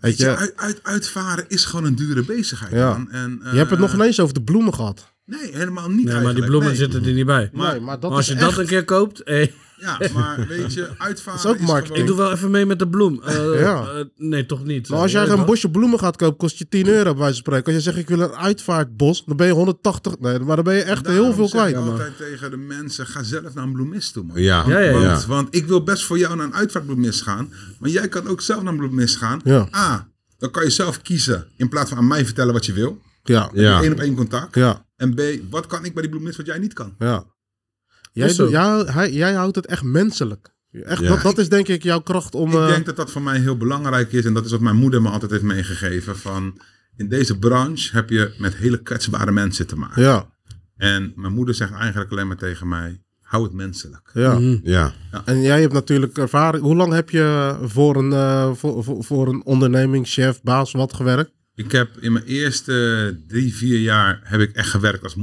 [SPEAKER 1] Weet
[SPEAKER 4] Weet je,
[SPEAKER 1] je,
[SPEAKER 4] uit, uit- uitvaren is gewoon een dure bezigheid.
[SPEAKER 1] Ja.
[SPEAKER 4] man. En,
[SPEAKER 1] je hebt het nog
[SPEAKER 4] niet.
[SPEAKER 1] niet eens over de bloemen gehad.
[SPEAKER 4] Nee, helemaal niet.
[SPEAKER 2] Nee, maar die
[SPEAKER 4] eigenlijk.
[SPEAKER 2] bloemen
[SPEAKER 4] Nee.
[SPEAKER 2] zitten er niet bij. Maar
[SPEAKER 4] Maar-
[SPEAKER 1] nee, maar dat
[SPEAKER 2] als
[SPEAKER 1] is
[SPEAKER 2] je
[SPEAKER 1] echt...
[SPEAKER 2] dat een keer koopt... eh,
[SPEAKER 4] Ja, maar weet je, uitvaren
[SPEAKER 1] is ook marketing.
[SPEAKER 4] gewoon-
[SPEAKER 2] ik doe wel even mee met de bloem. Eh,
[SPEAKER 1] Ja.
[SPEAKER 2] eh, nee, toch niet.
[SPEAKER 1] Maar als jij
[SPEAKER 2] Eh,
[SPEAKER 1] een
[SPEAKER 2] toch?
[SPEAKER 1] bosje bloemen gaat kopen, kost je 10 euro bij wijze van spreken. Als je zegt, ik wil een uitvaartbos, dan ben je 180... Nee, maar dan ben je echt heel
[SPEAKER 4] Daarom
[SPEAKER 1] veel
[SPEAKER 4] zeg ik
[SPEAKER 1] kwijt.
[SPEAKER 4] altijd tegen de mensen, ga zelf naar een bloemist toe, man.
[SPEAKER 3] Ja,
[SPEAKER 2] Ja, ja, ja.
[SPEAKER 4] Want, want ik wil best voor jou naar een uitvaartbloemist gaan. Maar jij kan ook zelf naar een bloemist gaan.
[SPEAKER 1] Ja.
[SPEAKER 4] A, dan kan je zelf kiezen. In plaats van aan mij vertellen wat je wil.
[SPEAKER 1] Ja, ja,
[SPEAKER 3] Ja.
[SPEAKER 4] Eén op één contact.
[SPEAKER 1] ja.
[SPEAKER 4] En B, wat kan ik bij die bloemist wat jij niet kan?
[SPEAKER 1] Jij,
[SPEAKER 2] Is zo.
[SPEAKER 1] doet- ja, hij, jij houdt het echt menselijk. Echt,
[SPEAKER 3] Ja.
[SPEAKER 1] dat, dat is denk ik jouw kracht om... eh,
[SPEAKER 4] Ik denk dat dat voor mij heel belangrijk is. En dat is wat mijn moeder me altijd heeft meegegeven. Van, in deze branche heb je met hele kwetsbare mensen te maken.
[SPEAKER 1] Ja,
[SPEAKER 4] En mijn moeder zegt eigenlijk alleen maar tegen mij, hou het menselijk.
[SPEAKER 1] ja.
[SPEAKER 3] ja.
[SPEAKER 1] En jij hebt natuurlijk ervaring. Hoe lang heb je voor een, eh, voor, voor, voor een onderneming, chef, baas, wat gewerkt?
[SPEAKER 4] Ik heb in mijn eerste drie, vier jaar heb ik echt gewerkt als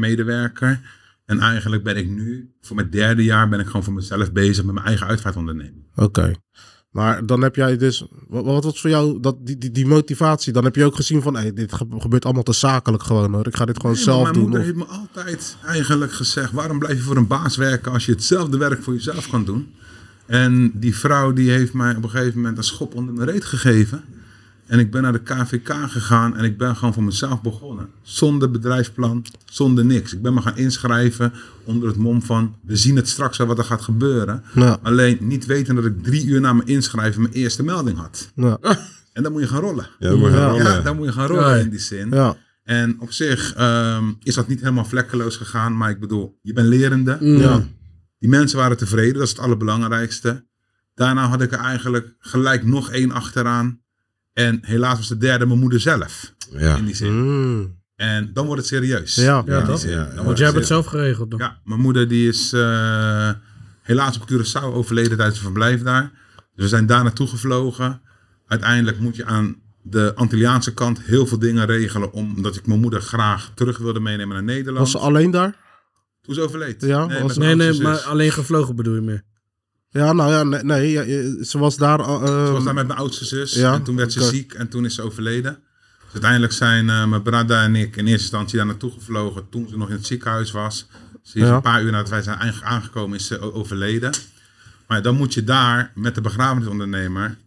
[SPEAKER 4] mortuariummedewerker. En eigenlijk ben ik nu, voor mijn derde jaar, ben ik gewoon voor mezelf bezig met mijn eigen uitvaartonderneming.
[SPEAKER 1] Oké. Maar dan heb jij dus, wat, wat was voor jou dat, die, die, die motivatie? Dan heb je ook gezien van, hey, dit ge- gebeurt allemaal te zakelijk gewoon hoor. Ik ga dit gewoon
[SPEAKER 4] Nee, maar
[SPEAKER 1] zelf
[SPEAKER 4] mijn
[SPEAKER 1] doen.
[SPEAKER 4] moeder
[SPEAKER 1] of-
[SPEAKER 4] heeft me altijd eigenlijk gezegd, waarom blijf je voor een baas werken als je hetzelfde werk voor jezelf kan doen? En die vrouw die heeft mij op een gegeven moment een schop onder mijn reet gegeven. En ik ben naar de KVK gegaan en ik ben gewoon voor mezelf begonnen. Zonder bedrijfsplan, zonder niks. Ik ben me gaan inschrijven onder het mom van... we zien het straks wel wat er gaat gebeuren.
[SPEAKER 1] Ja.
[SPEAKER 4] Alleen niet weten dat ik drie uur na mijn inschrijven mijn eerste melding had.
[SPEAKER 1] Ja.
[SPEAKER 4] En dan moet je gaan rollen.
[SPEAKER 3] Ja, dat moet je
[SPEAKER 1] Ja.
[SPEAKER 3] gaan rollen.
[SPEAKER 4] Ja, dan moet je gaan rollen
[SPEAKER 2] Ja.
[SPEAKER 4] in die zin.
[SPEAKER 1] ja,
[SPEAKER 4] En op zich ehm, is dat niet helemaal vlekkeloos gegaan. Maar ik bedoel, je bent lerende.
[SPEAKER 1] (laughs)
[SPEAKER 2] Mm.
[SPEAKER 1] ja,
[SPEAKER 4] Die mensen waren tevreden, dat is het allerbelangrijkste. Daarna had ik er eigenlijk gelijk nog één achteraan. En helaas was de derde mijn moeder zelf.
[SPEAKER 3] Ja.
[SPEAKER 4] In die zin.
[SPEAKER 1] Mm.
[SPEAKER 4] En dan wordt het serieus.
[SPEAKER 1] ja,
[SPEAKER 2] Ja,
[SPEAKER 4] In die
[SPEAKER 2] toch?
[SPEAKER 4] zin.
[SPEAKER 3] Ja,
[SPEAKER 4] Dan
[SPEAKER 3] ja.
[SPEAKER 4] wordt
[SPEAKER 2] Want jij hebt het
[SPEAKER 4] serieus.
[SPEAKER 2] zelf geregeld. toch?
[SPEAKER 4] Ja, mijn moeder die is eh, helaas op Curaçao overleden tijdens zijn verblijf daar. Dus we zijn daar naartoe gevlogen. Uiteindelijk moet je aan de Antilliaanse kant heel veel dingen regelen. Omdat ik mijn moeder graag terug wilde meenemen naar Nederland.
[SPEAKER 1] Was ze alleen daar?
[SPEAKER 4] Toen ze overleed.
[SPEAKER 1] Ja, was-
[SPEAKER 4] met
[SPEAKER 2] Nee,
[SPEAKER 4] mijn
[SPEAKER 2] nee,
[SPEAKER 4] oudste
[SPEAKER 2] maar
[SPEAKER 4] zus.
[SPEAKER 2] alleen gevlogen bedoel je meer.
[SPEAKER 1] Ja, nou ja, nee, nee ja, je- ze was daar. eh,
[SPEAKER 4] Ze was
[SPEAKER 1] ehm,
[SPEAKER 4] daar met mijn oudste zus.
[SPEAKER 1] ja,
[SPEAKER 4] en toen werd ze
[SPEAKER 1] oké.
[SPEAKER 4] ziek en toen is ze overleden. Dus uiteindelijk zijn eh, mijn brada en ik in eerste instantie daar naartoe gevlogen. Toen ze nog in het ziekenhuis was. Ze is
[SPEAKER 1] Ja.
[SPEAKER 4] een paar uur nadat wij zijn aange- aangekomen is ze o- overleden. Maar dan moet je daar met de begrafenisondernemer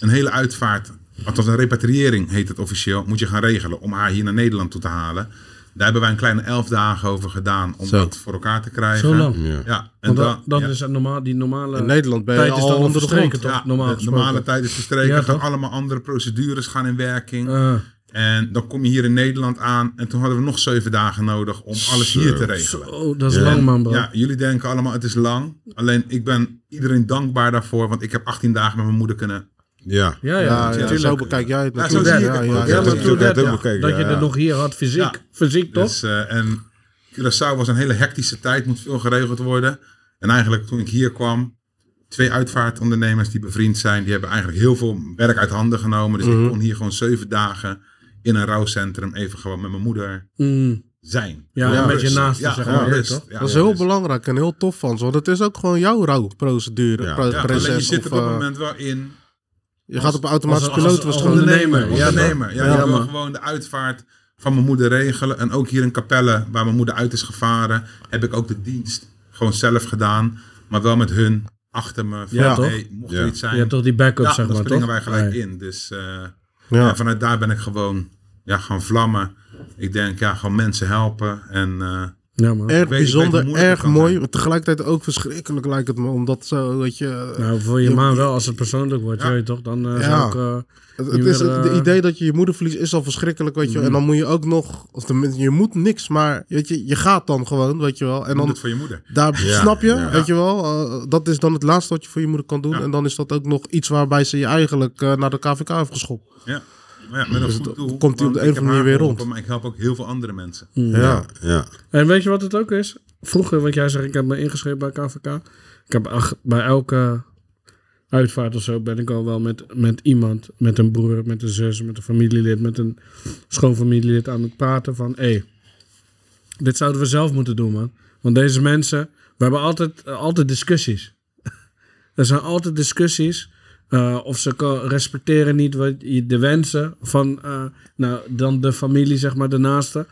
[SPEAKER 4] een hele uitvaart, althans een repatriëring heet het officieel, moet je gaan regelen om haar hier naar Nederland toe te halen. Daar hebben wij een kleine elf dagen over gedaan om
[SPEAKER 1] Zo.
[SPEAKER 4] dat voor elkaar te krijgen.
[SPEAKER 2] Zo lang?
[SPEAKER 4] Ja,
[SPEAKER 3] Ja.
[SPEAKER 4] en
[SPEAKER 2] Want dan, dan
[SPEAKER 4] ja.
[SPEAKER 2] is het normaal, die normale
[SPEAKER 1] in Nederland ben je
[SPEAKER 2] tijd is
[SPEAKER 1] al
[SPEAKER 2] dan
[SPEAKER 1] onder de grond.
[SPEAKER 2] verstreken, toch? normaal
[SPEAKER 4] de normale tijd is verstreken.
[SPEAKER 2] Ja,
[SPEAKER 4] gaan
[SPEAKER 2] toch?
[SPEAKER 4] allemaal andere procedures gaan in werking.
[SPEAKER 2] Eh,
[SPEAKER 4] En dan kom je hier in Nederland aan. En toen hadden we nog zeven dagen nodig om alles hier te regelen.
[SPEAKER 2] oh, dat is lang man bro.
[SPEAKER 4] Ja, jullie denken allemaal het is lang. Alleen ik ben iedereen dankbaar daarvoor. Want ik heb 18 dagen met mijn moeder kunnen.
[SPEAKER 3] Ja.
[SPEAKER 2] Ja, ja.
[SPEAKER 1] Ja, ja,
[SPEAKER 2] natuurlijk.
[SPEAKER 1] zo bekijk jij het
[SPEAKER 4] Ja, zo
[SPEAKER 1] natuurlijk.
[SPEAKER 4] zie ik het ook.
[SPEAKER 2] Ja,
[SPEAKER 3] Ja,
[SPEAKER 2] maar
[SPEAKER 3] natuurlijk,
[SPEAKER 2] toen
[SPEAKER 3] dat
[SPEAKER 2] dat,
[SPEAKER 3] heb ik
[SPEAKER 2] ja,
[SPEAKER 3] bekeken,
[SPEAKER 2] dat je
[SPEAKER 3] ja.
[SPEAKER 2] er nog hier had, fysiek.
[SPEAKER 4] Ja.
[SPEAKER 2] Fysiek toch?
[SPEAKER 4] Dus, eh, en Curaçao was een hele hectische tijd. Moet veel geregeld worden. En eigenlijk toen ik hier kwam. Twee uitvaartondernemers die bevriend zijn. Die hebben eigenlijk heel veel werk uit handen genomen. Dus
[SPEAKER 2] Mhm.
[SPEAKER 4] ik kon hier gewoon zeven dagen in een rouwcentrum. Even gewoon met mijn moeder.
[SPEAKER 2] Mm.
[SPEAKER 4] zijn.
[SPEAKER 2] Ja,
[SPEAKER 4] Gewoon
[SPEAKER 2] een beetje
[SPEAKER 4] rust.
[SPEAKER 2] naast, zeg maar,
[SPEAKER 4] rust.
[SPEAKER 2] toch?
[SPEAKER 1] dat is
[SPEAKER 4] Ja, ja, dus-
[SPEAKER 1] heel
[SPEAKER 4] rust.
[SPEAKER 1] belangrijk en heel tof van ze. Want het is ook gewoon jouw rouwprocedure.
[SPEAKER 3] Ja.
[SPEAKER 1] pro-
[SPEAKER 3] Ja,
[SPEAKER 4] Ja,
[SPEAKER 1] proces
[SPEAKER 4] alleen je zit
[SPEAKER 1] of,
[SPEAKER 4] er op
[SPEAKER 1] eh,
[SPEAKER 4] het moment wel in.
[SPEAKER 1] je gaat op automatisch
[SPEAKER 2] als- als-
[SPEAKER 1] piloot was
[SPEAKER 2] als
[SPEAKER 1] gewoon.
[SPEAKER 2] ondernemer.
[SPEAKER 4] Ja,
[SPEAKER 2] Ja,
[SPEAKER 4] nemer. Ja,
[SPEAKER 2] Ja,
[SPEAKER 4] je wil
[SPEAKER 2] maar-
[SPEAKER 4] gewoon de uitvaart van mijn moeder regelen. En ook hier in Capelle, waar mijn moeder uit is gevaren, heb ik ook de dienst gewoon zelf gedaan. Maar wel met hun achter me. Van,
[SPEAKER 2] Ja, toch?
[SPEAKER 4] hey, mocht er
[SPEAKER 3] Ja.
[SPEAKER 4] iets zijn,
[SPEAKER 2] Je hebt toch die backup,
[SPEAKER 4] ja,
[SPEAKER 2] zeg
[SPEAKER 4] dan
[SPEAKER 2] maar,
[SPEAKER 4] springen
[SPEAKER 2] toch?
[SPEAKER 4] wij gelijk
[SPEAKER 2] Nee.
[SPEAKER 4] in. Dus eh,
[SPEAKER 1] Ja.
[SPEAKER 4] en vanuit daar ben ik gewoon ja, gaan vlammen. Ik denk, ja, gewoon mensen helpen. En eh,
[SPEAKER 2] Ja, man.
[SPEAKER 1] Erg
[SPEAKER 4] Ik weet- ik weet hoe
[SPEAKER 1] bijzonder,
[SPEAKER 4] moeilijk
[SPEAKER 1] erg
[SPEAKER 4] het kan
[SPEAKER 1] mooi.
[SPEAKER 4] zijn.
[SPEAKER 1] Maar tegelijkertijd ook verschrikkelijk lijkt het me. Omdat zo, weet je... eh,
[SPEAKER 2] Nou, voor je
[SPEAKER 1] Je-
[SPEAKER 2] maan wel, als het persoonlijk wordt,
[SPEAKER 4] Ja.
[SPEAKER 2] weet je toch? Dan eh,
[SPEAKER 1] Ja.
[SPEAKER 2] zou ik... eh,
[SPEAKER 1] het
[SPEAKER 2] je
[SPEAKER 1] het is,
[SPEAKER 2] weer,
[SPEAKER 1] het
[SPEAKER 2] eh, Mhm.
[SPEAKER 1] idee dat je je moeder verliest is al verschrikkelijk, weet je wel. En dan moet je ook nog... Of tenminste, je moet niks, maar weet je, je gaat dan gewoon, weet je wel. En
[SPEAKER 4] doe
[SPEAKER 1] dan
[SPEAKER 4] het voor je moeder.
[SPEAKER 1] Daar
[SPEAKER 3] Ja,
[SPEAKER 1] snap je,
[SPEAKER 3] ja.
[SPEAKER 1] weet je wel. eh, dat is dan het laatste wat je voor je moeder kan doen. En dan is dat ook nog iets waarbij ze je eigenlijk eh, naar de KVK heeft geschopt.
[SPEAKER 4] Ja, maar ja, met een goed doel.
[SPEAKER 1] Dus komt hij op de
[SPEAKER 4] want
[SPEAKER 1] een
[SPEAKER 4] ik
[SPEAKER 1] of andere
[SPEAKER 4] heb
[SPEAKER 1] manier
[SPEAKER 4] haar
[SPEAKER 1] weer
[SPEAKER 4] geholpen,
[SPEAKER 1] rond.
[SPEAKER 4] Maar ik help ook heel veel andere mensen.
[SPEAKER 1] Ja.
[SPEAKER 3] Ja.
[SPEAKER 2] En weet je wat het ook is? Vroeger, want jij zegt, ik heb me ingeschreven bij KVK. Ik heb ach- bij elke uitvaart of zo ben ik al wel met, met iemand, met een broer, met een zus, met een familielid, met een schoonfamilielid aan het praten van, hé, dit zouden we zelf moeten doen, man. Want deze (laughs) mensen, we hebben altijd, eh, altijd discussies. er zijn altijd discussies Eh, of ze ko- respecteren niet wat je, de wensen van eh, nou, dan de familie, zeg maar, de naaste.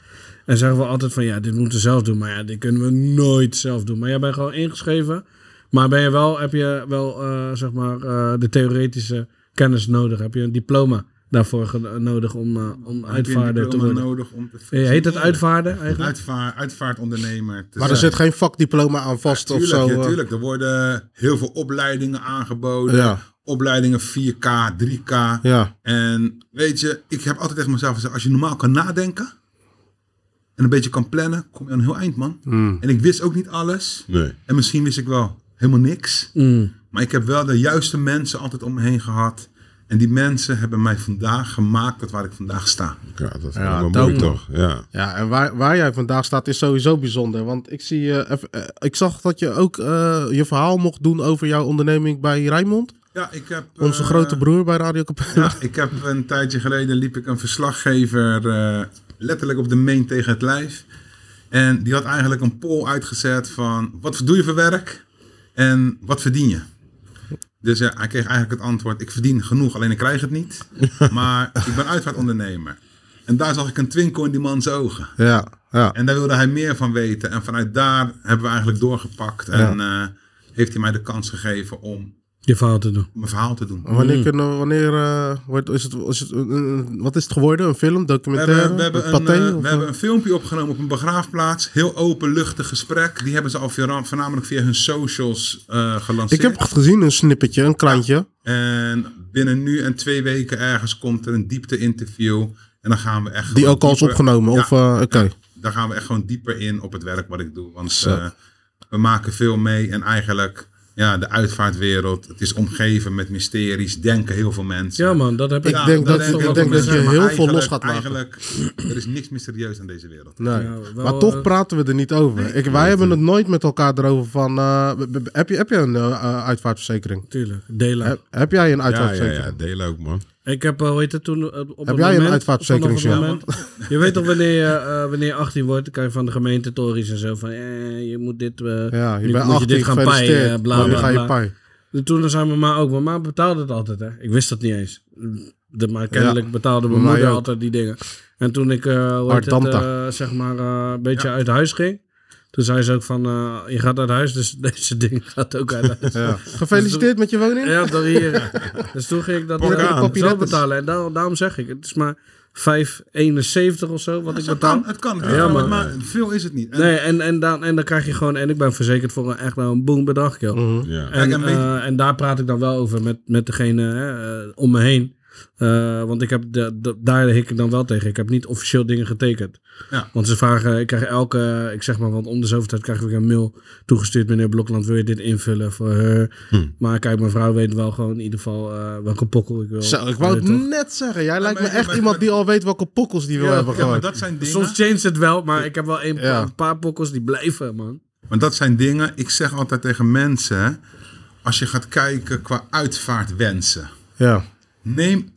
[SPEAKER 2] En zeggen we altijd van ja, dit moeten we zelf doen. Maar ja, dit kunnen we nooit zelf doen. Maar jij bent gewoon ingeschreven. Maar ben je wel, heb je wel eh, zeg maar, eh, de theoretische kennis nodig? Heb je een diploma daarvoor ge- nodig om, eh, om
[SPEAKER 4] Heb je een
[SPEAKER 2] uitvaarder te
[SPEAKER 4] diploma
[SPEAKER 2] worden? Eh,
[SPEAKER 4] nodig om
[SPEAKER 1] Eh,
[SPEAKER 4] te
[SPEAKER 2] Heet het
[SPEAKER 4] functioneren?
[SPEAKER 2] uitvaarder eigenlijk?
[SPEAKER 4] Uitvaar- uitvaartondernemer. te
[SPEAKER 1] Maar er
[SPEAKER 4] zijn.
[SPEAKER 1] zit geen vakdiploma aan vast of
[SPEAKER 4] Tuurlijk,
[SPEAKER 1] zo.
[SPEAKER 4] ja,
[SPEAKER 1] eh.
[SPEAKER 4] tuurlijk. Er worden heel veel opleidingen aangeboden.
[SPEAKER 1] Ja.
[SPEAKER 4] Opleidingen 4K, 3K.
[SPEAKER 1] Ja,
[SPEAKER 4] En weet je, ik heb altijd tegen mezelf gezegd: als je normaal kan nadenken en een beetje kan plannen, kom je aan een heel eind, man.
[SPEAKER 1] Mm.
[SPEAKER 4] En ik wist ook niet alles.
[SPEAKER 3] Nee.
[SPEAKER 4] En misschien wist ik wel helemaal niks.
[SPEAKER 2] Mm.
[SPEAKER 4] Maar ik heb wel de juiste mensen altijd om me heen gehad. En die mensen hebben mij vandaag gemaakt tot waar ik vandaag sta.
[SPEAKER 3] Ja, dat is
[SPEAKER 1] Ja,
[SPEAKER 3] wel mooi
[SPEAKER 1] dope.
[SPEAKER 3] toch? Ja.
[SPEAKER 1] ja en waar, waar jij vandaag staat is sowieso bijzonder. Want ik, zie, eh, eff- eh, ik zag dat je ook eh, je verhaal mocht doen over jouw onderneming bij Rijnmond.
[SPEAKER 4] Ja, ik heb,
[SPEAKER 1] Onze
[SPEAKER 4] eh,
[SPEAKER 1] grote broer bij Radio Capella.
[SPEAKER 4] Ja, ik heb een tijdje geleden liep ik een verslaggever eh, letterlijk op de main tegen het lijf. En die had eigenlijk een poll uitgezet van wat doe je voor werk en wat verdien je? Dus ja, hij kreeg eigenlijk het antwoord, ik verdien genoeg, alleen ik krijg het niet. Maar ik ben uitvaartondernemer. En daar zag ik een twinkel in die man's ogen.
[SPEAKER 1] (laughs) Ja, ja.
[SPEAKER 4] En daar wilde hij meer van weten. En vanuit daar hebben we eigenlijk doorgepakt. En eh, heeft hij mij de kans gegeven om
[SPEAKER 2] Je verhaal te doen.
[SPEAKER 4] mijn verhaal te doen.
[SPEAKER 1] Wanneer, kunnen, wanneer eh, wordt, is het, is het een- een- wat is het geworden? Een film,
[SPEAKER 4] We
[SPEAKER 1] documentaire,
[SPEAKER 4] hebben, we, hebben
[SPEAKER 1] een
[SPEAKER 4] een,
[SPEAKER 1] paté?
[SPEAKER 4] eh,
[SPEAKER 1] of,
[SPEAKER 4] we hebben een filmpje opgenomen op een begraafplaats. Heel openluchtig gesprek. Die hebben ze al voorna- voornamelijk via hun socials eh,
[SPEAKER 1] ik
[SPEAKER 4] gelanceerd.
[SPEAKER 1] heb het gezien, een snippetje, een kleintje.
[SPEAKER 4] En binnen nu en twee weken ergens komt er een diepte-interview. En dan gaan we echt.
[SPEAKER 1] Die
[SPEAKER 4] gewoon
[SPEAKER 1] ook al is
[SPEAKER 4] dieper-
[SPEAKER 1] opgenomen.
[SPEAKER 4] Ja,
[SPEAKER 1] Of, eh, oké.
[SPEAKER 4] Daar gaan we echt gewoon dieper in op het werk wat ik doe. Want eh, we maken veel mee. En eigenlijk, ja, de uitvaartwereld. Het is omgeven met mysteries. Denken heel veel mensen.
[SPEAKER 2] Ja man, dat heb ik.
[SPEAKER 1] Ik denk dat-
[SPEAKER 2] is
[SPEAKER 1] ik
[SPEAKER 2] toch
[SPEAKER 1] denk
[SPEAKER 2] wel
[SPEAKER 1] dat je
[SPEAKER 2] mensen.
[SPEAKER 1] heel
[SPEAKER 4] maar
[SPEAKER 1] veel los
[SPEAKER 4] eigenlijk-
[SPEAKER 1] gaat maken.
[SPEAKER 4] Eigenlijk, er is niks mysterieus aan deze wereld.
[SPEAKER 1] Nee.
[SPEAKER 2] Ja, wel,
[SPEAKER 1] maar toch
[SPEAKER 2] eh,
[SPEAKER 1] praten we er niet over. Ik, wij hebben het nooit met elkaar erover van... eh, b- b- heb, je, heb je een eh, eh, uitvaartverzekering?
[SPEAKER 2] Tuurlijk, delen.
[SPEAKER 1] Heb, heb jij een
[SPEAKER 3] Ja, ja,
[SPEAKER 1] uitvaartverzekering?
[SPEAKER 3] ja, deel ook man.
[SPEAKER 2] Ik heb, eh, hoe heet het toen? eh, Op het
[SPEAKER 1] jij een
[SPEAKER 2] moment-
[SPEAKER 1] uitvaartverzekering,
[SPEAKER 2] vanaf het
[SPEAKER 1] Sjoerd?
[SPEAKER 2] moment- Je weet toch wanneer je, eh, wanneer je 18 wordt, dan kan je van de gemeente Tories en zo van, eh, je moet dit, eh,
[SPEAKER 1] Ja, je
[SPEAKER 2] nu
[SPEAKER 1] bent
[SPEAKER 2] moet je
[SPEAKER 1] 18,
[SPEAKER 2] dit gaan
[SPEAKER 1] gefeliciteerd.
[SPEAKER 2] pijen, eh, bla
[SPEAKER 1] Maar nu
[SPEAKER 2] bla
[SPEAKER 1] ga je
[SPEAKER 2] bla.
[SPEAKER 1] paaien.
[SPEAKER 2] En Toen zei mijn ma ook, mijn ma betaalde het altijd hè. Ik wist dat niet eens. De, maar kennelijk betaalde mijn
[SPEAKER 1] Mij
[SPEAKER 2] moeder
[SPEAKER 1] ook.
[SPEAKER 2] altijd die dingen. En toen ik, eh, hoe heet het,
[SPEAKER 1] Ardanta.
[SPEAKER 2] eh, zeg maar, eh, een beetje uit huis ging, toen zei ze ook van, eh, je gaat uit huis, dus (laughs) deze ding gaat ook uit huis.
[SPEAKER 1] Ja. Gefeliciteerd met je woning.
[SPEAKER 2] Ja, dan hier. dus toen ging ik dat
[SPEAKER 1] Pak
[SPEAKER 2] eh,
[SPEAKER 1] aan.
[SPEAKER 2] zo
[SPEAKER 1] Papillettes.
[SPEAKER 2] betalen. En daar- daarom zeg ik, het is maar 5,71 of zo wat ik
[SPEAKER 4] Het
[SPEAKER 2] betaal.
[SPEAKER 4] kan, het kan. Het
[SPEAKER 2] Ja,
[SPEAKER 4] kan,
[SPEAKER 2] maar-
[SPEAKER 4] maar veel is het niet. En,
[SPEAKER 2] Nee, en, en, dan, en dan krijg je gewoon... En ik ben verzekerd voor een, echt nou een boem bedrag, joh.
[SPEAKER 3] Ja.
[SPEAKER 2] En,
[SPEAKER 4] Kijk, en weet-
[SPEAKER 2] eh, en daar praat ik dan wel over met, met degene hè, eh, om me heen. Eh, want ik heb de, de- daar hik ik dan wel tegen. Ik heb niet officieel dingen getekend.
[SPEAKER 4] Ja.
[SPEAKER 2] Want ze vragen, ik krijg elke, ik zeg maar, want om de zoveel tijd krijg ik weer een mail toegestuurd. Meneer Blokland, wil je dit invullen voor haar?
[SPEAKER 1] Hm.
[SPEAKER 2] Maar kijk, mijn vrouw weet wel gewoon in ieder geval eh, welke pokkel ik wil.
[SPEAKER 1] Zo, ik wou
[SPEAKER 2] Weet
[SPEAKER 1] het
[SPEAKER 2] je toch?
[SPEAKER 1] net zeggen. Jij lijkt me
[SPEAKER 4] maar-
[SPEAKER 1] echt
[SPEAKER 4] maar-
[SPEAKER 1] iemand die al weet welke pokkels die wil
[SPEAKER 2] Ja,
[SPEAKER 1] hebben
[SPEAKER 4] ja, maar
[SPEAKER 1] gehad.
[SPEAKER 4] dat zijn dingen.
[SPEAKER 2] Soms change het wel, maar ik heb wel een,
[SPEAKER 1] Ja.
[SPEAKER 2] een paar pokkels die blijven, man.
[SPEAKER 4] Want dat zijn dingen. Ik zeg altijd tegen mensen. Als je gaat kijken qua uitvaartwensen.
[SPEAKER 1] Ja.
[SPEAKER 4] Neem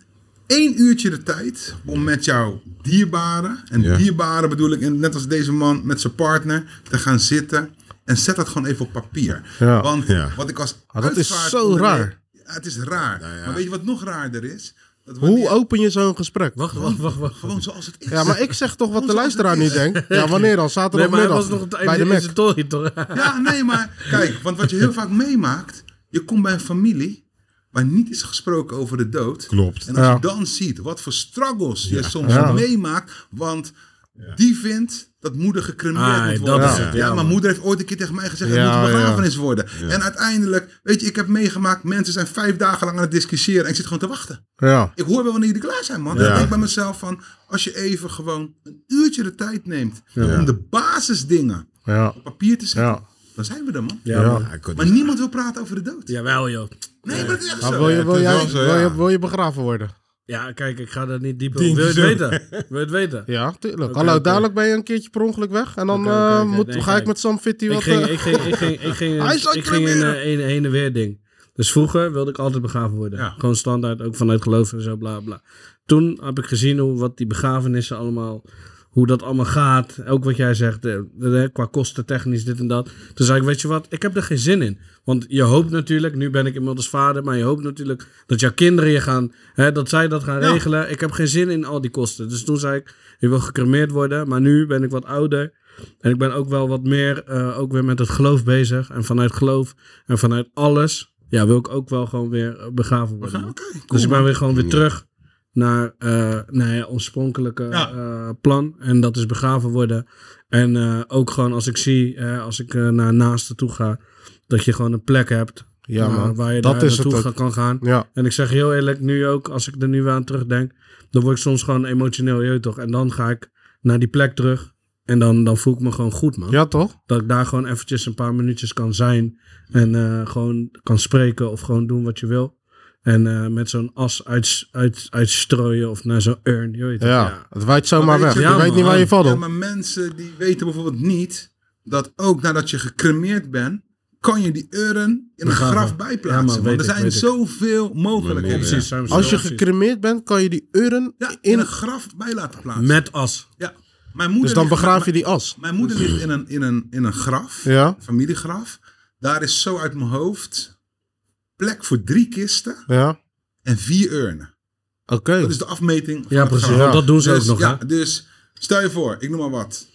[SPEAKER 4] één uurtje de tijd om met jouw dierbare. En
[SPEAKER 3] Ja.
[SPEAKER 4] dierbare bedoel ik en net als deze man met zijn partner. Te gaan zitten. En zet dat gewoon even op papier.
[SPEAKER 1] Ja.
[SPEAKER 4] Want
[SPEAKER 3] Ja.
[SPEAKER 4] wat ik als
[SPEAKER 1] Ah, dat is zo
[SPEAKER 4] uitvaartondernemer-
[SPEAKER 1] raar.
[SPEAKER 4] Ja, het is raar. Maar weet je wat nog raarder is? Dat
[SPEAKER 1] Hoe
[SPEAKER 4] wanneer-
[SPEAKER 1] open je zo'n gesprek?
[SPEAKER 2] Wacht, wacht, wacht, wacht.
[SPEAKER 4] Gewoon zoals het is.
[SPEAKER 1] Ja, maar ik zeg toch
[SPEAKER 2] (laughs)
[SPEAKER 1] wat de
[SPEAKER 4] Hoezo
[SPEAKER 1] luisteraar nu
[SPEAKER 4] is het-
[SPEAKER 1] denkt. Ja, wanneer dan?
[SPEAKER 2] Nee, maar hij was
[SPEAKER 1] Zaterdagmiddag.
[SPEAKER 2] nog op het
[SPEAKER 1] bij de
[SPEAKER 2] einde in
[SPEAKER 1] Mac.
[SPEAKER 2] zijn tory, toch?
[SPEAKER 4] Ja, nee, maar kijk, want wat je heel vaak meemaakt, je komt bij een familie waar niet is gesproken over de dood.
[SPEAKER 3] Klopt.
[SPEAKER 4] En als
[SPEAKER 1] Ja.
[SPEAKER 4] je dan ziet wat voor struggles je soms meemaakt, want die vindt dat moeder gecremeerd
[SPEAKER 2] Ah,
[SPEAKER 4] moet
[SPEAKER 2] dat
[SPEAKER 4] worden.
[SPEAKER 2] is
[SPEAKER 4] ja.
[SPEAKER 2] het, ja,
[SPEAKER 4] maar
[SPEAKER 2] man.
[SPEAKER 4] moeder heeft ooit een keer tegen mij gezegd,
[SPEAKER 1] Ja,
[SPEAKER 4] het moet een begrafenis worden. En uiteindelijk, weet je, ik heb meegemaakt, mensen zijn vijf dagen lang aan het discussiëren en ik zit gewoon te wachten.
[SPEAKER 1] Ja.
[SPEAKER 4] Ik hoor wel wanneer jullie klaar zijn, man.
[SPEAKER 3] Ja.
[SPEAKER 4] Ik denk bij mezelf van, als je even gewoon een uurtje de tijd neemt om de basisdingen
[SPEAKER 1] Ja.
[SPEAKER 4] op papier te zetten,
[SPEAKER 1] Ja.
[SPEAKER 4] dan zijn we er, man.
[SPEAKER 2] Ja, man.
[SPEAKER 3] Ja, ik kon
[SPEAKER 4] Maar
[SPEAKER 3] niet-
[SPEAKER 4] niemand wil praten over de dood.
[SPEAKER 2] Jawel, joh.
[SPEAKER 4] Nee, maar dat is echt
[SPEAKER 1] Maar
[SPEAKER 4] zo.
[SPEAKER 1] wil, je, wil,
[SPEAKER 3] is
[SPEAKER 1] jij,
[SPEAKER 3] wel zo,
[SPEAKER 1] wil,
[SPEAKER 3] ja.
[SPEAKER 1] je, wil je begraven worden?
[SPEAKER 2] Ja, kijk, ik ga daar niet dieper op.
[SPEAKER 3] Ding
[SPEAKER 2] Wil je het
[SPEAKER 3] zo.
[SPEAKER 2] weten? Wil je het weten?
[SPEAKER 1] Ja, tuurlijk.
[SPEAKER 2] Oké,
[SPEAKER 1] Hallo,
[SPEAKER 2] oké.
[SPEAKER 1] dadelijk ben je een keertje per ongeluk weg. En dan
[SPEAKER 2] Oké, oké,
[SPEAKER 1] eh,
[SPEAKER 2] oké.
[SPEAKER 1] moet,
[SPEAKER 2] Nee,
[SPEAKER 1] ga ik
[SPEAKER 2] kijk.
[SPEAKER 1] met Sam Fitty
[SPEAKER 2] Ik
[SPEAKER 1] wat...
[SPEAKER 2] ging,
[SPEAKER 1] eh,
[SPEAKER 2] ik ging, ik ging, ik ging,
[SPEAKER 1] Hij zou
[SPEAKER 2] ik ging in
[SPEAKER 1] cremeren.
[SPEAKER 2] eh, een heen en weer ding. Dus vroeger wilde ik altijd begraven worden.
[SPEAKER 4] Ja.
[SPEAKER 2] Gewoon standaard, ook vanuit geloof en zo, bla bla. Toen heb ik gezien hoe, wat die begrafenissen allemaal hoe dat allemaal gaat. Ook wat jij zegt, eh, eh, qua kosten technisch, dit en dat. Toen zei ik, weet je wat, ik heb er geen zin in. Want je hoopt natuurlijk, nu ben ik inmiddels vader, maar je hoopt natuurlijk dat jouw kinderen je gaan, hè, dat zij dat gaan regelen. Ik heb geen zin in al die kosten. Dus toen zei ik, ik wil gecremeerd worden, maar nu ben ik wat ouder. En ik ben ook wel wat meer, eh, ook weer met het geloof bezig. En vanuit geloof en vanuit alles, ja, wil ik ook wel gewoon weer eh, begraven worden. man. dus ik ben weer gewoon weer terug naar eh nou ja, oorspronkelijke
[SPEAKER 4] Ja.
[SPEAKER 2] eh, plan. En dat is begraven worden. En eh, ook gewoon als ik zie, eh, als ik eh, naar naasten toe ga, dat je gewoon een plek hebt
[SPEAKER 1] Ja,
[SPEAKER 2] eh,
[SPEAKER 1] man.
[SPEAKER 2] waar je
[SPEAKER 1] Dat
[SPEAKER 2] daar
[SPEAKER 1] is het
[SPEAKER 2] naartoe
[SPEAKER 1] ook.
[SPEAKER 2] ga- kan gaan.
[SPEAKER 1] Ja,
[SPEAKER 2] En ik zeg heel eerlijk, nu ook, als ik er nu weer aan terugdenk, dan word ik soms gewoon emotioneel, je weet toch. En dan ga ik naar die plek terug en dan, dan voel ik me gewoon goed, man.
[SPEAKER 1] ja toch?
[SPEAKER 2] Dat ik daar gewoon eventjes een paar minuutjes kan zijn en eh, gewoon kan spreken of gewoon doen wat je wil. En eh, met zo'n as uit, uit, uitstrooien of naar zo'n urn, je weet
[SPEAKER 1] Ja,
[SPEAKER 2] het.
[SPEAKER 1] het waait zomaar weg.
[SPEAKER 4] weet
[SPEAKER 1] Je,
[SPEAKER 4] je-
[SPEAKER 2] Ja,
[SPEAKER 1] weet
[SPEAKER 2] man.
[SPEAKER 1] niet waar je valt
[SPEAKER 4] Ja,
[SPEAKER 1] op.
[SPEAKER 4] maar mensen die weten bijvoorbeeld niet dat ook nadat je gecremeerd bent, kan je die urn in een
[SPEAKER 2] Begraven.
[SPEAKER 4] graf
[SPEAKER 2] Ja,
[SPEAKER 4] bijplaatsen.
[SPEAKER 2] man, weet
[SPEAKER 4] want er
[SPEAKER 2] ik,
[SPEAKER 4] zijn
[SPEAKER 2] weet ik.
[SPEAKER 4] zoveel
[SPEAKER 3] Maar meer,
[SPEAKER 4] mogelijkheden.
[SPEAKER 3] ja.
[SPEAKER 2] Precies, zijn we zo.
[SPEAKER 1] Als je
[SPEAKER 2] Precies.
[SPEAKER 1] gecremeerd bent, kan je die uren
[SPEAKER 4] Ja, in
[SPEAKER 1] in...
[SPEAKER 4] een graf bij laten plaatsen.
[SPEAKER 2] Met as.
[SPEAKER 4] ja. mijn moeder
[SPEAKER 1] Dus dan
[SPEAKER 4] ligt-
[SPEAKER 1] begraaf
[SPEAKER 4] mijn-
[SPEAKER 1] je die as.
[SPEAKER 4] Mijn moeder
[SPEAKER 2] Dus-
[SPEAKER 4] ligt in een, in een, in een graf,
[SPEAKER 1] Ja.
[SPEAKER 4] een familiegraf. Daar is zo uit mijn hoofd plek voor drie kisten
[SPEAKER 1] Ja, oké.
[SPEAKER 4] en vier urnen. Dat is de afmeting. van
[SPEAKER 2] Ja,
[SPEAKER 4] het
[SPEAKER 2] precies.
[SPEAKER 4] graf.
[SPEAKER 2] want dat doen ze
[SPEAKER 4] dus,
[SPEAKER 2] ook nog,
[SPEAKER 4] ja,
[SPEAKER 2] hè?
[SPEAKER 4] dus stel je voor, ik noem maar wat.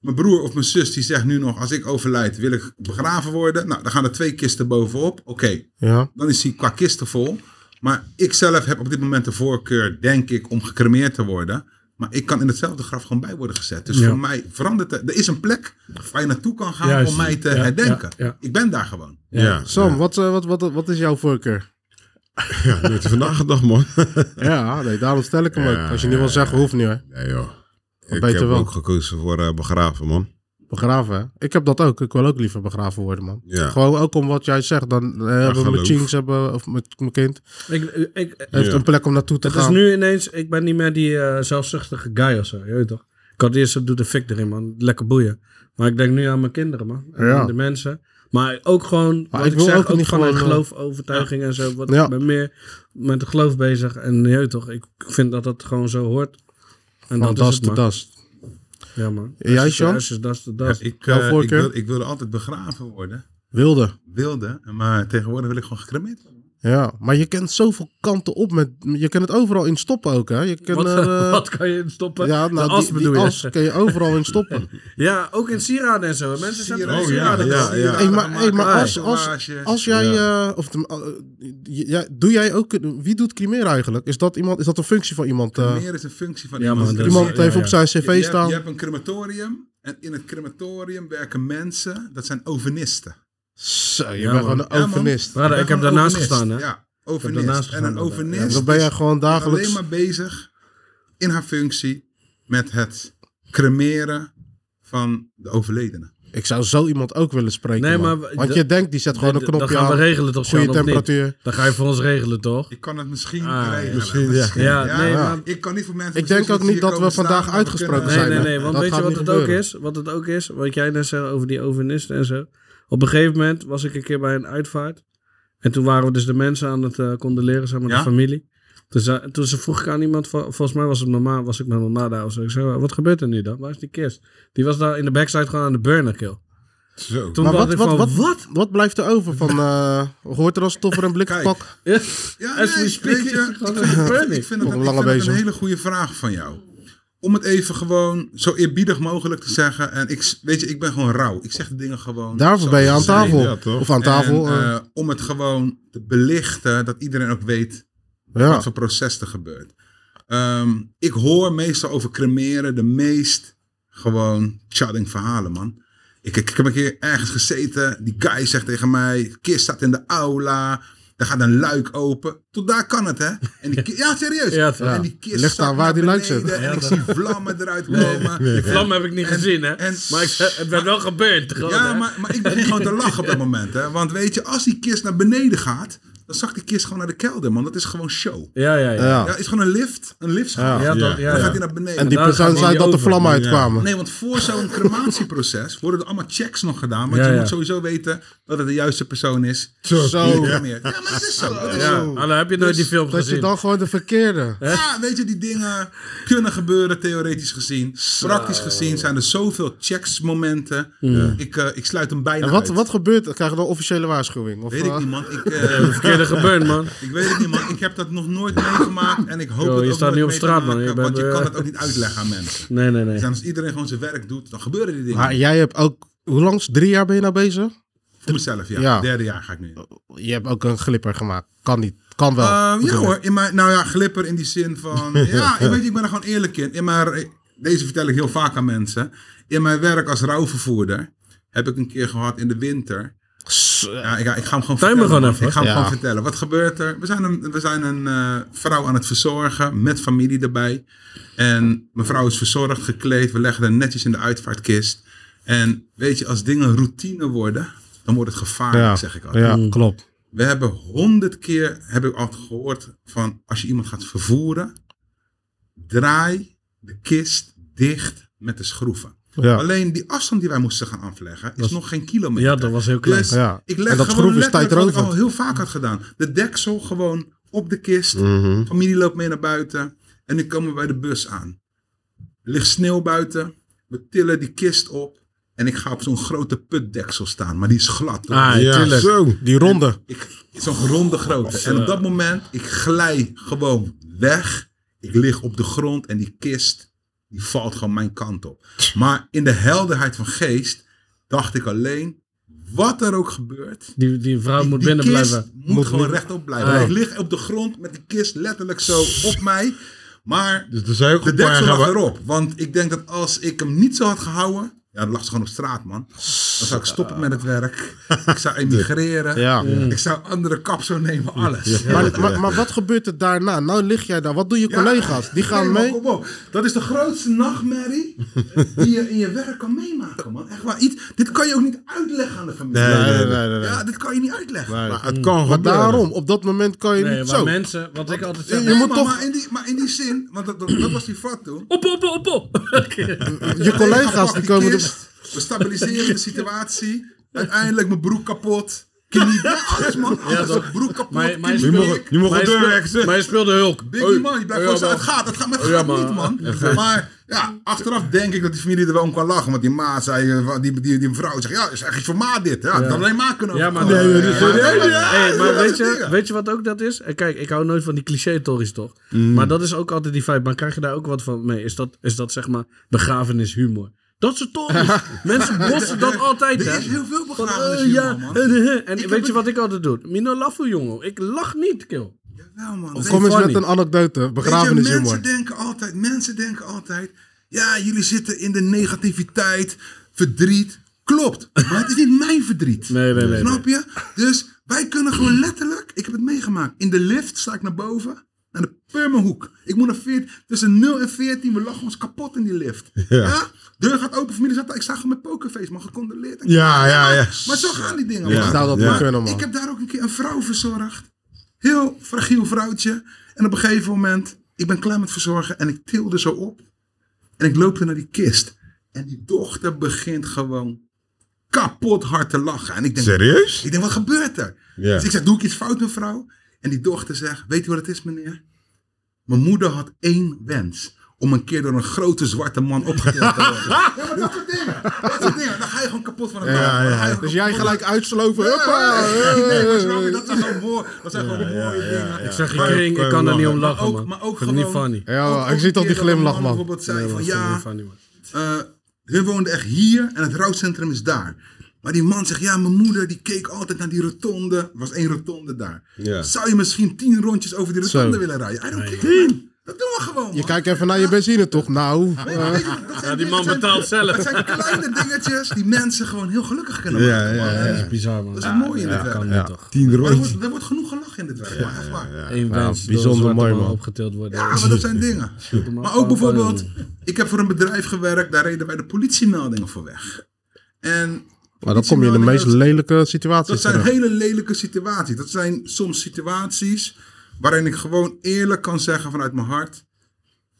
[SPEAKER 4] Mijn broer of mijn zus die zegt nu nog: als ik overlijd, wil ik begraven worden. Nou, dan gaan er twee kisten bovenop. Oké,
[SPEAKER 1] Ja,
[SPEAKER 4] dan is hij qua kisten vol. Maar ik zelf heb op dit moment de voorkeur, denk ik, om gecremeerd te worden. Maar ik kan in hetzelfde graf gewoon bij worden gezet. Dus
[SPEAKER 2] Ja.
[SPEAKER 4] voor mij verandert het. Er is een plek waar je naartoe kan gaan
[SPEAKER 2] Juist.
[SPEAKER 4] om mij te
[SPEAKER 2] Ja,
[SPEAKER 4] herdenken.
[SPEAKER 2] ja, ja.
[SPEAKER 4] Ik ben daar gewoon.
[SPEAKER 3] Ja,
[SPEAKER 1] Sam, Wat, eh, wat, wat, wat is jouw
[SPEAKER 3] (laughs)
[SPEAKER 1] voorkeur?
[SPEAKER 3] ja nooit van nagedacht, man.
[SPEAKER 1] Ja, nee, daarom stel ik hem
[SPEAKER 3] Ja,
[SPEAKER 1] ook. Als je niet wil zeggen, hoeft niet hoor.
[SPEAKER 3] Nee, joh. Ik
[SPEAKER 1] beter
[SPEAKER 3] heb
[SPEAKER 1] wel.
[SPEAKER 3] ook gekozen voor eh, begraven, man.
[SPEAKER 1] Begraven, hè? Ik heb dat ook. Ik wil ook liever begraven worden, man.
[SPEAKER 3] Ja.
[SPEAKER 1] Gewoon ook om wat jij zegt. Dan eh, hebben mijn
[SPEAKER 3] geloof.
[SPEAKER 1] teens, hebben, of met mijn kind,
[SPEAKER 2] Ik, ik,
[SPEAKER 1] heeft
[SPEAKER 3] Ja.
[SPEAKER 1] een plek om naartoe te
[SPEAKER 2] het is
[SPEAKER 1] gaan.
[SPEAKER 2] nu ineens, ik ben niet meer die eh, zelfzuchtige guy of zo, je weet toch? Ik had eerst, doe de fik erin, man. Lekker boeien. Maar ik denk nu aan mijn kinderen, man. En
[SPEAKER 1] Ja.
[SPEAKER 2] aan de mensen. Maar ook gewoon, wat
[SPEAKER 1] ik
[SPEAKER 2] ik,
[SPEAKER 1] wil
[SPEAKER 2] zeg,
[SPEAKER 1] ook
[SPEAKER 2] ook,
[SPEAKER 1] niet
[SPEAKER 2] vanuit
[SPEAKER 1] gewoon, eh,
[SPEAKER 2] geloof, overtuiging en zo. Wat,
[SPEAKER 1] Ja.
[SPEAKER 2] Ik ben meer met het geloof bezig. En je weet toch, ik vind dat dat gewoon zo hoort. En
[SPEAKER 1] Van
[SPEAKER 2] dat
[SPEAKER 1] das
[SPEAKER 2] is het,
[SPEAKER 1] te
[SPEAKER 2] man.
[SPEAKER 1] das.
[SPEAKER 2] Ja, man.
[SPEAKER 1] En jij, Sjan?
[SPEAKER 2] Dat is das te das.
[SPEAKER 4] Ik,
[SPEAKER 1] Jouw
[SPEAKER 4] eh, ik,
[SPEAKER 1] voorkeur?
[SPEAKER 4] wil, ik wilde altijd begraven worden.
[SPEAKER 1] Wilde.
[SPEAKER 4] Wilde. Maar tegenwoordig wil ik gewoon gecremeerd worden.
[SPEAKER 1] Ja, maar je kent zoveel kanten op. Met, je kan het overal in stoppen ook, hè? Je kan
[SPEAKER 2] Wat,
[SPEAKER 1] er, eh,
[SPEAKER 2] (laughs) wat kan je stoppen?
[SPEAKER 1] ja, nou,
[SPEAKER 2] de as
[SPEAKER 1] die,
[SPEAKER 2] bedoel
[SPEAKER 1] die
[SPEAKER 2] je?
[SPEAKER 1] as kan je overal in stoppen.
[SPEAKER 2] Ja, ook in sieraden en zo. Mensen zijn
[SPEAKER 4] Sieraden,
[SPEAKER 2] er
[SPEAKER 3] Oh, ja,
[SPEAKER 2] sieraden.
[SPEAKER 3] ja.
[SPEAKER 1] Hey, maar, hey, maar als, als,
[SPEAKER 4] tatoeages.
[SPEAKER 1] als jij, eh, of de- eh, j- jij- doe jij ook, wie doet Crimera eigenlijk? Is dat iemand, is dat een functie van iemand? eh?
[SPEAKER 4] Meer is een functie van
[SPEAKER 2] Ja,
[SPEAKER 4] iemand.
[SPEAKER 2] maar dat is-
[SPEAKER 1] iemand heeft
[SPEAKER 2] ja,
[SPEAKER 1] op zijn
[SPEAKER 4] Je- je,
[SPEAKER 1] cv
[SPEAKER 4] hebt-
[SPEAKER 1] staan.
[SPEAKER 4] je hebt een crematorium. En in het crematorium werken mensen. Dat zijn ovenisten.
[SPEAKER 1] Zo, je
[SPEAKER 2] Ja,
[SPEAKER 1] bent
[SPEAKER 2] man.
[SPEAKER 1] gewoon een
[SPEAKER 4] Ja, man.
[SPEAKER 1] ovenist.
[SPEAKER 2] Brada,
[SPEAKER 4] ben
[SPEAKER 2] ik heb
[SPEAKER 4] gewoon
[SPEAKER 2] daarnaast
[SPEAKER 4] ovenist.
[SPEAKER 2] gestaan, hè?
[SPEAKER 4] Ja,
[SPEAKER 2] Ik heb daarnaast
[SPEAKER 4] ovenist. En
[SPEAKER 2] gestaan,
[SPEAKER 4] een
[SPEAKER 2] inderdaad.
[SPEAKER 1] Ja,
[SPEAKER 4] ovenist
[SPEAKER 1] dan ben
[SPEAKER 2] dus-
[SPEAKER 1] je gewoon
[SPEAKER 4] is alleen
[SPEAKER 1] dagelijks.
[SPEAKER 4] maar bezig in haar functie met het cremeren van de overledene.
[SPEAKER 1] Ik zou zo iemand ook willen spreken.
[SPEAKER 2] Nee,
[SPEAKER 1] man.
[SPEAKER 2] maar we-
[SPEAKER 1] Want
[SPEAKER 2] d-
[SPEAKER 1] je denkt, die zet gewoon een
[SPEAKER 2] Dan- Dan
[SPEAKER 1] knopje
[SPEAKER 2] gaan we
[SPEAKER 1] aan.
[SPEAKER 2] regelen toch,
[SPEAKER 1] Goede
[SPEAKER 2] Sjan, of niet?
[SPEAKER 1] temperatuur.
[SPEAKER 2] Dan ga je voor ons regelen, toch?
[SPEAKER 4] Ik kan het misschien
[SPEAKER 2] Ah,
[SPEAKER 4] regelen.
[SPEAKER 1] misschien, ja.
[SPEAKER 2] Ja, nee,
[SPEAKER 1] ja.
[SPEAKER 2] maar...
[SPEAKER 4] Ik kan niet voor mensen.
[SPEAKER 1] Ik denk
[SPEAKER 4] precies
[SPEAKER 1] ook
[SPEAKER 4] wat
[SPEAKER 1] niet
[SPEAKER 4] hier
[SPEAKER 1] dat we
[SPEAKER 4] komen staan,
[SPEAKER 1] vandaag
[SPEAKER 4] maar we
[SPEAKER 1] uitgesproken
[SPEAKER 4] kunnen-
[SPEAKER 1] zijn,
[SPEAKER 2] Nee, nee,
[SPEAKER 1] hè?
[SPEAKER 2] nee, want
[SPEAKER 1] Dat
[SPEAKER 2] weet je
[SPEAKER 1] gaat
[SPEAKER 2] wat
[SPEAKER 1] niet
[SPEAKER 2] het ook
[SPEAKER 1] gebeuren.
[SPEAKER 2] is? Wat het ook is, wat jij net zei over die ovenisten en zo. Op een gegeven moment was ik een keer bij een uitvaart. En toen waren we dus de mensen aan het eh condoleren, zeg maar,
[SPEAKER 4] Ja?
[SPEAKER 2] de familie. Toen, zei- toen ze vroeg ik aan iemand, vol- volgens mij was het mama, was ik met mama daar of zo. Ik zei, wat gebeurt er nu dan? Waar is die kist? Die was daar in de backside gewoon aan de burner kill.
[SPEAKER 3] Zo.
[SPEAKER 2] Toen
[SPEAKER 1] Maar
[SPEAKER 2] dacht
[SPEAKER 1] wat,
[SPEAKER 2] ik
[SPEAKER 1] wat,
[SPEAKER 2] van,
[SPEAKER 1] wat, wat, blijft er over
[SPEAKER 2] (laughs)
[SPEAKER 1] van... eh, hoort er als toffer een blikpak?
[SPEAKER 4] Ja,
[SPEAKER 2] As we
[SPEAKER 4] nee,
[SPEAKER 2] speak
[SPEAKER 4] weet je,
[SPEAKER 2] is het
[SPEAKER 4] ik
[SPEAKER 2] gewoon
[SPEAKER 4] vind
[SPEAKER 2] een
[SPEAKER 4] het-
[SPEAKER 2] panic.
[SPEAKER 4] Ik vind het,
[SPEAKER 1] Nog
[SPEAKER 4] een- ik
[SPEAKER 1] langer
[SPEAKER 4] vind het
[SPEAKER 1] bezig.
[SPEAKER 4] een hele goede vraag van jou. Om het even gewoon zo eerbiedig mogelijk te zeggen. En ik, s- weet je, ik ben gewoon rauw. Ik zeg de dingen gewoon.
[SPEAKER 1] Daarvoor
[SPEAKER 4] zoals
[SPEAKER 1] ben je aan
[SPEAKER 4] ze zijn.
[SPEAKER 1] tafel.
[SPEAKER 3] ja, toch?
[SPEAKER 1] of aan tafel.
[SPEAKER 4] En,
[SPEAKER 1] eh,
[SPEAKER 4] eh, om het gewoon te belichten, dat iedereen ook weet
[SPEAKER 1] ja.
[SPEAKER 4] wat voor proces er gebeurt. Ehm, ik hoor meestal over cremeren de meest gewoon chatting verhalen, man. Ik, ik, ik heb een keer ergens gezeten, die guy zegt tegen mij, kist staat in de aula, er gaat een luik open. Tot daar kan het, hè?
[SPEAKER 2] (laughs)
[SPEAKER 4] En die ki- ja, serieus.
[SPEAKER 2] Ja, toch?
[SPEAKER 4] en die kist
[SPEAKER 1] Ligt
[SPEAKER 4] zakt
[SPEAKER 1] aan waar
[SPEAKER 4] naar
[SPEAKER 1] die luik
[SPEAKER 4] beneden
[SPEAKER 1] zit.
[SPEAKER 4] En ik zie vlammen eruit komen.
[SPEAKER 2] Die vlam heb ik niet
[SPEAKER 4] (laughs) en-
[SPEAKER 2] gezien, hè?
[SPEAKER 4] en-
[SPEAKER 2] maar ik, het werd wel gebeurd. Gewoon,
[SPEAKER 4] Ja,
[SPEAKER 2] hè?
[SPEAKER 4] maar, maar ik begin gewoon te lachen op dat moment. Hè? Want weet je, als die kist naar beneden gaat, Dan zag die kist gewoon naar de kelder, man. Dat is gewoon show.
[SPEAKER 2] Ja, ja, ja.
[SPEAKER 4] Ja,
[SPEAKER 1] Ja.
[SPEAKER 4] is gewoon een lift. Een liftschaal.
[SPEAKER 1] Ja.
[SPEAKER 2] Ja, dat- ja,
[SPEAKER 4] Dan
[SPEAKER 2] ja.
[SPEAKER 4] gaat hij naar beneden.
[SPEAKER 1] En die
[SPEAKER 2] daar gaan
[SPEAKER 1] persoon
[SPEAKER 2] we
[SPEAKER 1] zei
[SPEAKER 2] niet
[SPEAKER 1] dat de
[SPEAKER 2] over.
[SPEAKER 1] vlammen
[SPEAKER 2] Ja.
[SPEAKER 1] uitkwamen.
[SPEAKER 4] Nee, want voor zo'n crematieproces worden er allemaal checks nog gedaan. Want
[SPEAKER 2] Ja,
[SPEAKER 4] je
[SPEAKER 2] ja.
[SPEAKER 4] moet sowieso weten dat het de juiste persoon is.
[SPEAKER 1] Zo.
[SPEAKER 4] Ja, meer. ja maar dat is zo. Dat is
[SPEAKER 2] Ja,
[SPEAKER 4] zo.
[SPEAKER 2] ah, dan heb je nooit die
[SPEAKER 4] Dus
[SPEAKER 2] film
[SPEAKER 1] Dat je
[SPEAKER 2] gezien.
[SPEAKER 1] dan gewoon de verkeerde.
[SPEAKER 4] Ja, weet je, die dingen kunnen gebeuren theoretisch gezien. Praktisch gezien zijn er zoveel checksmomenten. Ik, eh, ik sluit hem bijna
[SPEAKER 1] En wat,
[SPEAKER 4] uit.
[SPEAKER 1] wat gebeurt er? Krijg je dan officiële waarschuwing? Of,
[SPEAKER 4] Weet ik
[SPEAKER 1] eh,
[SPEAKER 4] niet, man. Ik, eh,
[SPEAKER 2] Verkeerde gebeurd, man.
[SPEAKER 4] ik weet het niet, man. Ik heb dat nog nooit meegemaakt. En ik hoop
[SPEAKER 2] Yo,
[SPEAKER 4] dat
[SPEAKER 2] je
[SPEAKER 4] ook
[SPEAKER 2] staat
[SPEAKER 4] nooit
[SPEAKER 2] niet op
[SPEAKER 4] mee te
[SPEAKER 2] straat, man.
[SPEAKER 4] maken,
[SPEAKER 2] Je bent,
[SPEAKER 4] Want je
[SPEAKER 2] eh,
[SPEAKER 4] kan het ook niet uitleggen aan mensen.
[SPEAKER 2] Nee, nee, nee.
[SPEAKER 4] Dus als iedereen gewoon zijn werk doet, dan gebeuren die dingen.
[SPEAKER 1] Maar jij hebt ook, hoe lang? is- Drie jaar ben je nou bezig?
[SPEAKER 4] Voor mezelf, ja.
[SPEAKER 1] Ja. Oh.
[SPEAKER 4] Derde jaar ga ik nu.
[SPEAKER 1] Je hebt ook een glipper gemaakt. Kan niet. Kan wel.
[SPEAKER 2] Oh,
[SPEAKER 4] Eh, ja hoor, in mijn, nou ja, glipper in die zin
[SPEAKER 2] (laughs)
[SPEAKER 4] van... ja, ik weet, ik ben er gewoon eerlijk in. in mijn, deze vertel ik heel vaak aan mensen. In mijn werk als rouwvervoerder heb ik een keer gehad in de winter. Ja, ik, ik ga
[SPEAKER 2] Tuin
[SPEAKER 4] hem gewoon
[SPEAKER 2] me
[SPEAKER 4] vertellen.
[SPEAKER 2] gewoon
[SPEAKER 4] man.
[SPEAKER 2] even.
[SPEAKER 4] Ik ga hem
[SPEAKER 1] Ja.
[SPEAKER 4] gewoon vertellen. Wat gebeurt er? We zijn een, we zijn een eh, vrouw aan het verzorgen met familie erbij. En mevrouw is verzorgd, gekleed. We leggen haar netjes in de uitvaartkist. En weet je, als dingen routine worden, dan wordt het gevaarlijk,
[SPEAKER 1] ja.
[SPEAKER 4] zeg ik altijd.
[SPEAKER 1] ja, klopt.
[SPEAKER 4] We hebben honderd keer, heb ik altijd gehoord, van als je iemand gaat vervoeren, draai de kist dicht met de schroeven.
[SPEAKER 1] Ja.
[SPEAKER 4] Alleen die afstand die wij moesten gaan afleggen, is nog geen kilometer.
[SPEAKER 2] Ja, dat was heel klein.
[SPEAKER 4] Dus
[SPEAKER 1] Ja.
[SPEAKER 4] ik
[SPEAKER 1] En
[SPEAKER 4] leg
[SPEAKER 1] dat
[SPEAKER 4] gewoon
[SPEAKER 1] schroef is
[SPEAKER 4] letterlijk wat ik
[SPEAKER 1] tijdrovend.
[SPEAKER 4] al heel vaak had gedaan. De deksel gewoon op de kist.
[SPEAKER 1] Mm.
[SPEAKER 4] Familie loopt mee naar buiten. En nu komen we bij de bus aan. Er ligt sneeuw buiten. We tillen die kist op. En ik ga op zo'n grote putdeksel staan. Maar die is glad. hoor.
[SPEAKER 2] Ah,
[SPEAKER 3] Ja,
[SPEAKER 2] tuurlijk.
[SPEAKER 3] zo.
[SPEAKER 1] Die ronde.
[SPEAKER 4] Ik, zo'n ronde grootte.
[SPEAKER 2] eh,
[SPEAKER 4] En op dat moment, ik glij gewoon weg. Ik lig op de grond en die kist, die valt gewoon mijn kant op. Maar in de helderheid van geest dacht ik alleen, wat er ook gebeurt.
[SPEAKER 2] Die, die vrouw moet
[SPEAKER 4] die
[SPEAKER 2] binnen
[SPEAKER 4] kist
[SPEAKER 2] blijven. Oh.
[SPEAKER 4] moet, gewoon rechtop blijven.
[SPEAKER 2] Ja.
[SPEAKER 4] Ik lig op de grond met die kist letterlijk zo
[SPEAKER 2] (laughs)
[SPEAKER 4] op mij. Maar
[SPEAKER 3] Dus er zijn ook
[SPEAKER 4] de
[SPEAKER 3] een paar
[SPEAKER 4] deksel
[SPEAKER 3] gaan
[SPEAKER 4] lag
[SPEAKER 3] we-
[SPEAKER 4] erop. Want ik denk dat als ik hem niet zo had gehouden... Ja, dan lag ze gewoon op straat, man. Dan zou ik stoppen met het werk. Ik
[SPEAKER 1] (laughs)
[SPEAKER 4] zou emigreren.
[SPEAKER 1] Ja.
[SPEAKER 4] Ik zou andere kap zo nemen, alles.
[SPEAKER 1] Maar, maar, maar wat gebeurt er daarna? Nou lig jij daar. Wat doen je
[SPEAKER 4] Ja.
[SPEAKER 1] collega's? Die
[SPEAKER 4] Nee,
[SPEAKER 1] gaan
[SPEAKER 4] man,
[SPEAKER 1] mee.
[SPEAKER 4] kom op. Dat is de grootste nachtmerrie die je in je werk kan meemaken, man. Echt waar. Iets, dit kan je ook niet uitleggen aan de familie.
[SPEAKER 3] Nee, nee, nee, nee, nee.
[SPEAKER 4] Ja, dit kan je niet uitleggen.
[SPEAKER 3] Maar het kan
[SPEAKER 1] Maar
[SPEAKER 3] gebeuren.
[SPEAKER 1] daarom, op dat moment kan je
[SPEAKER 2] Nee,
[SPEAKER 1] niet
[SPEAKER 2] maar
[SPEAKER 1] zo.
[SPEAKER 2] mensen, wat ik altijd
[SPEAKER 4] Ja,
[SPEAKER 2] zeg.
[SPEAKER 4] nee,
[SPEAKER 1] moet
[SPEAKER 4] maar,
[SPEAKER 1] toch-
[SPEAKER 4] maar, in die, maar in die zin, want dat, dat, dat was die vat toen.
[SPEAKER 2] Op, op, op, op. (laughs)
[SPEAKER 1] Je
[SPEAKER 4] (laughs)
[SPEAKER 1] collega's die komen er.
[SPEAKER 4] We stabiliseren de situatie. Uiteindelijk mijn broek kapot. Knie, ja, alles man. Alles,
[SPEAKER 2] toch.
[SPEAKER 4] broek kapot.
[SPEAKER 2] Maar- maar-
[SPEAKER 4] knie
[SPEAKER 3] Nu
[SPEAKER 4] breuk.
[SPEAKER 3] mogen, nu
[SPEAKER 2] Maar
[SPEAKER 3] mogen we
[SPEAKER 2] je speelt-
[SPEAKER 3] doorwerken.
[SPEAKER 2] Maar je speelde Hulk.
[SPEAKER 4] Biggie
[SPEAKER 2] Oei.
[SPEAKER 4] man, die blijft
[SPEAKER 2] Ja,
[SPEAKER 4] gewoon zo,
[SPEAKER 2] maar-
[SPEAKER 4] het gaat, het gaat, maar het
[SPEAKER 2] Ja,
[SPEAKER 4] gaat
[SPEAKER 2] maar-
[SPEAKER 4] niet man. Maar ja, achteraf denk ik dat die familie er wel om kan lachen. Want die maat zei, eh, die, die, die, vrouw zegt, ja, is echt iets voor ma dit. Ja, dat alleen ma kunnen
[SPEAKER 2] Ja, maar,
[SPEAKER 4] overkomen.
[SPEAKER 2] nee,
[SPEAKER 4] Ja, ja, ja,
[SPEAKER 2] Hey, maar
[SPEAKER 4] Ah, dat
[SPEAKER 2] weet,
[SPEAKER 4] soort
[SPEAKER 2] je,
[SPEAKER 4] dingen.
[SPEAKER 2] weet je wat ook dat is? En kijk, ik hou nooit van die cliché-tories toch?
[SPEAKER 3] Mm.
[SPEAKER 2] Maar dat is ook altijd die vibe. Maar krijg je daar ook wat van mee? Is dat, is dat zeg maar begrafenishumor? Dat soort tories.
[SPEAKER 3] (laughs)
[SPEAKER 2] Mensen bossen dat altijd, hè?
[SPEAKER 4] Er is heel veel
[SPEAKER 2] Van, eh,
[SPEAKER 4] begrafenis
[SPEAKER 2] ja,
[SPEAKER 4] man.
[SPEAKER 2] eh, eh, eh. En
[SPEAKER 4] Ik
[SPEAKER 2] weet
[SPEAKER 4] heb
[SPEAKER 2] je
[SPEAKER 4] het-
[SPEAKER 2] wat ik altijd doe? Mino lafu, jongen. Ik lach niet, kill.
[SPEAKER 4] Jawel, man. Weet
[SPEAKER 1] Kom
[SPEAKER 4] je,
[SPEAKER 1] eens
[SPEAKER 2] funny.
[SPEAKER 1] met een anekdote. Begrafenis
[SPEAKER 4] mensen
[SPEAKER 1] humor.
[SPEAKER 4] denken altijd, mensen denken altijd, ja, jullie zitten in de negativiteit, verdriet. Klopt, maar het is niet mijn verdriet.
[SPEAKER 2] Nee, nee, nee,
[SPEAKER 4] Snap je? Dus wij kunnen gewoon letterlijk, ik heb het meegemaakt, in de lift sta ik naar boven, naar de Purmerhoek. Ik moet naar 14, tussen 0 en 14, we lachen ons kapot in die lift. Ja. Deur gaat open, familie zat daar, ik sta gewoon met pokerface, man, gecondoleerd.
[SPEAKER 3] Ja, ja, ja.
[SPEAKER 4] Maar zo gaan die dingen,
[SPEAKER 3] Ja.
[SPEAKER 4] man.
[SPEAKER 1] Zou dat
[SPEAKER 3] Ja.
[SPEAKER 1] maar kunnen, man.
[SPEAKER 4] Ik heb daar ook een keer een vrouw verzorgd. Heel fragiel vrouwtje. En op een gegeven moment, ik ben klaar met verzorgen en ik tilde zo op. En ik loopte naar die kist. En die dochter begint gewoon kapot hard te lachen. En ik denk,
[SPEAKER 3] Serieus?
[SPEAKER 4] ik denk wat gebeurt er?
[SPEAKER 3] Ja.
[SPEAKER 4] Dus ik zeg, doe ik iets fout mevrouw? En die dochter zegt, weet u wat het is meneer? Mijn moeder had één wens. Om een keer door een grote zwarte man opgetild te
[SPEAKER 3] (laughs)
[SPEAKER 4] worden. Ja, maar dat soort dingen. Dat soort dingen. Dan ga je gewoon kapot van het
[SPEAKER 3] ja,
[SPEAKER 4] Dan ga je
[SPEAKER 3] ja.
[SPEAKER 4] gewoon
[SPEAKER 1] Dus jij
[SPEAKER 4] kapot-
[SPEAKER 1] gelijk uitsloven. Hoppa.
[SPEAKER 4] Nee, (laughs) maar snap je, dat zijn gewoon mooi- dat zijn gewoon mooie dingen.
[SPEAKER 2] Ik zeg je,
[SPEAKER 3] Maar-
[SPEAKER 2] kring, ik kan daar niet om
[SPEAKER 4] Maar
[SPEAKER 2] lachen,
[SPEAKER 4] ook-
[SPEAKER 2] man.
[SPEAKER 4] maar ook
[SPEAKER 2] Ik vind het niet
[SPEAKER 4] gewoon-
[SPEAKER 2] funny.
[SPEAKER 1] Ja,
[SPEAKER 4] Ook-
[SPEAKER 1] man, ik
[SPEAKER 4] ook
[SPEAKER 1] zie dat
[SPEAKER 4] een
[SPEAKER 1] die
[SPEAKER 4] keer dat een
[SPEAKER 1] glimlach,
[SPEAKER 4] man
[SPEAKER 1] man.
[SPEAKER 4] bijvoorbeeld zei
[SPEAKER 2] Nee,
[SPEAKER 4] van
[SPEAKER 2] man, ik vind het
[SPEAKER 4] ja,
[SPEAKER 2] niet funny, man.
[SPEAKER 4] eh, hun woonden echt hier en het rouwcentrum is daar. Maar die man zegt, ja, mijn moeder die keek altijd naar die rotonde. Er was één rotonde daar.
[SPEAKER 3] Ja.
[SPEAKER 4] Zou je misschien tien rondjes over die rotonde
[SPEAKER 1] Zo.
[SPEAKER 4] willen rijden? I don't care, man. Dat doen we gewoon, man.
[SPEAKER 1] Je kijkt even naar je benzine, toch? Nou.
[SPEAKER 4] Nee, maar weet je, dat zijn
[SPEAKER 2] Ja, die man
[SPEAKER 4] dingen- dat zijn-
[SPEAKER 2] betaalt zelf.
[SPEAKER 4] Dat zijn kleine dingetjes die mensen gewoon heel gelukkig kunnen
[SPEAKER 3] Ja,
[SPEAKER 4] maken. man.
[SPEAKER 3] ja,
[SPEAKER 4] En
[SPEAKER 3] ja.
[SPEAKER 2] Bizar, man.
[SPEAKER 4] Dat is het mooie in dit
[SPEAKER 2] Dat
[SPEAKER 4] werk.
[SPEAKER 2] kan
[SPEAKER 4] Maar
[SPEAKER 2] niet, toch?
[SPEAKER 3] Tien
[SPEAKER 4] er
[SPEAKER 3] rondjes.
[SPEAKER 4] wordt, er wordt genoeg gelachen in dit werk, man. Echt waar.
[SPEAKER 2] Eén wens. door een
[SPEAKER 1] bijzonder
[SPEAKER 2] zwarte
[SPEAKER 1] mooi,
[SPEAKER 2] man
[SPEAKER 1] man.
[SPEAKER 2] Opgetild worden.
[SPEAKER 4] Ja, maar dat zijn dingen. Maar ook bijvoorbeeld, ik heb voor een bedrijf gewerkt, daar reden wij de politiemeldingen voor weg. En
[SPEAKER 1] Maar dan kom je in de meest
[SPEAKER 4] Politiemeldingen,
[SPEAKER 1] lelijke situaties
[SPEAKER 4] Dat zijn
[SPEAKER 1] terecht.
[SPEAKER 4] hele lelijke situaties. Dat zijn soms situaties waarin ik gewoon eerlijk kan zeggen vanuit mijn hart.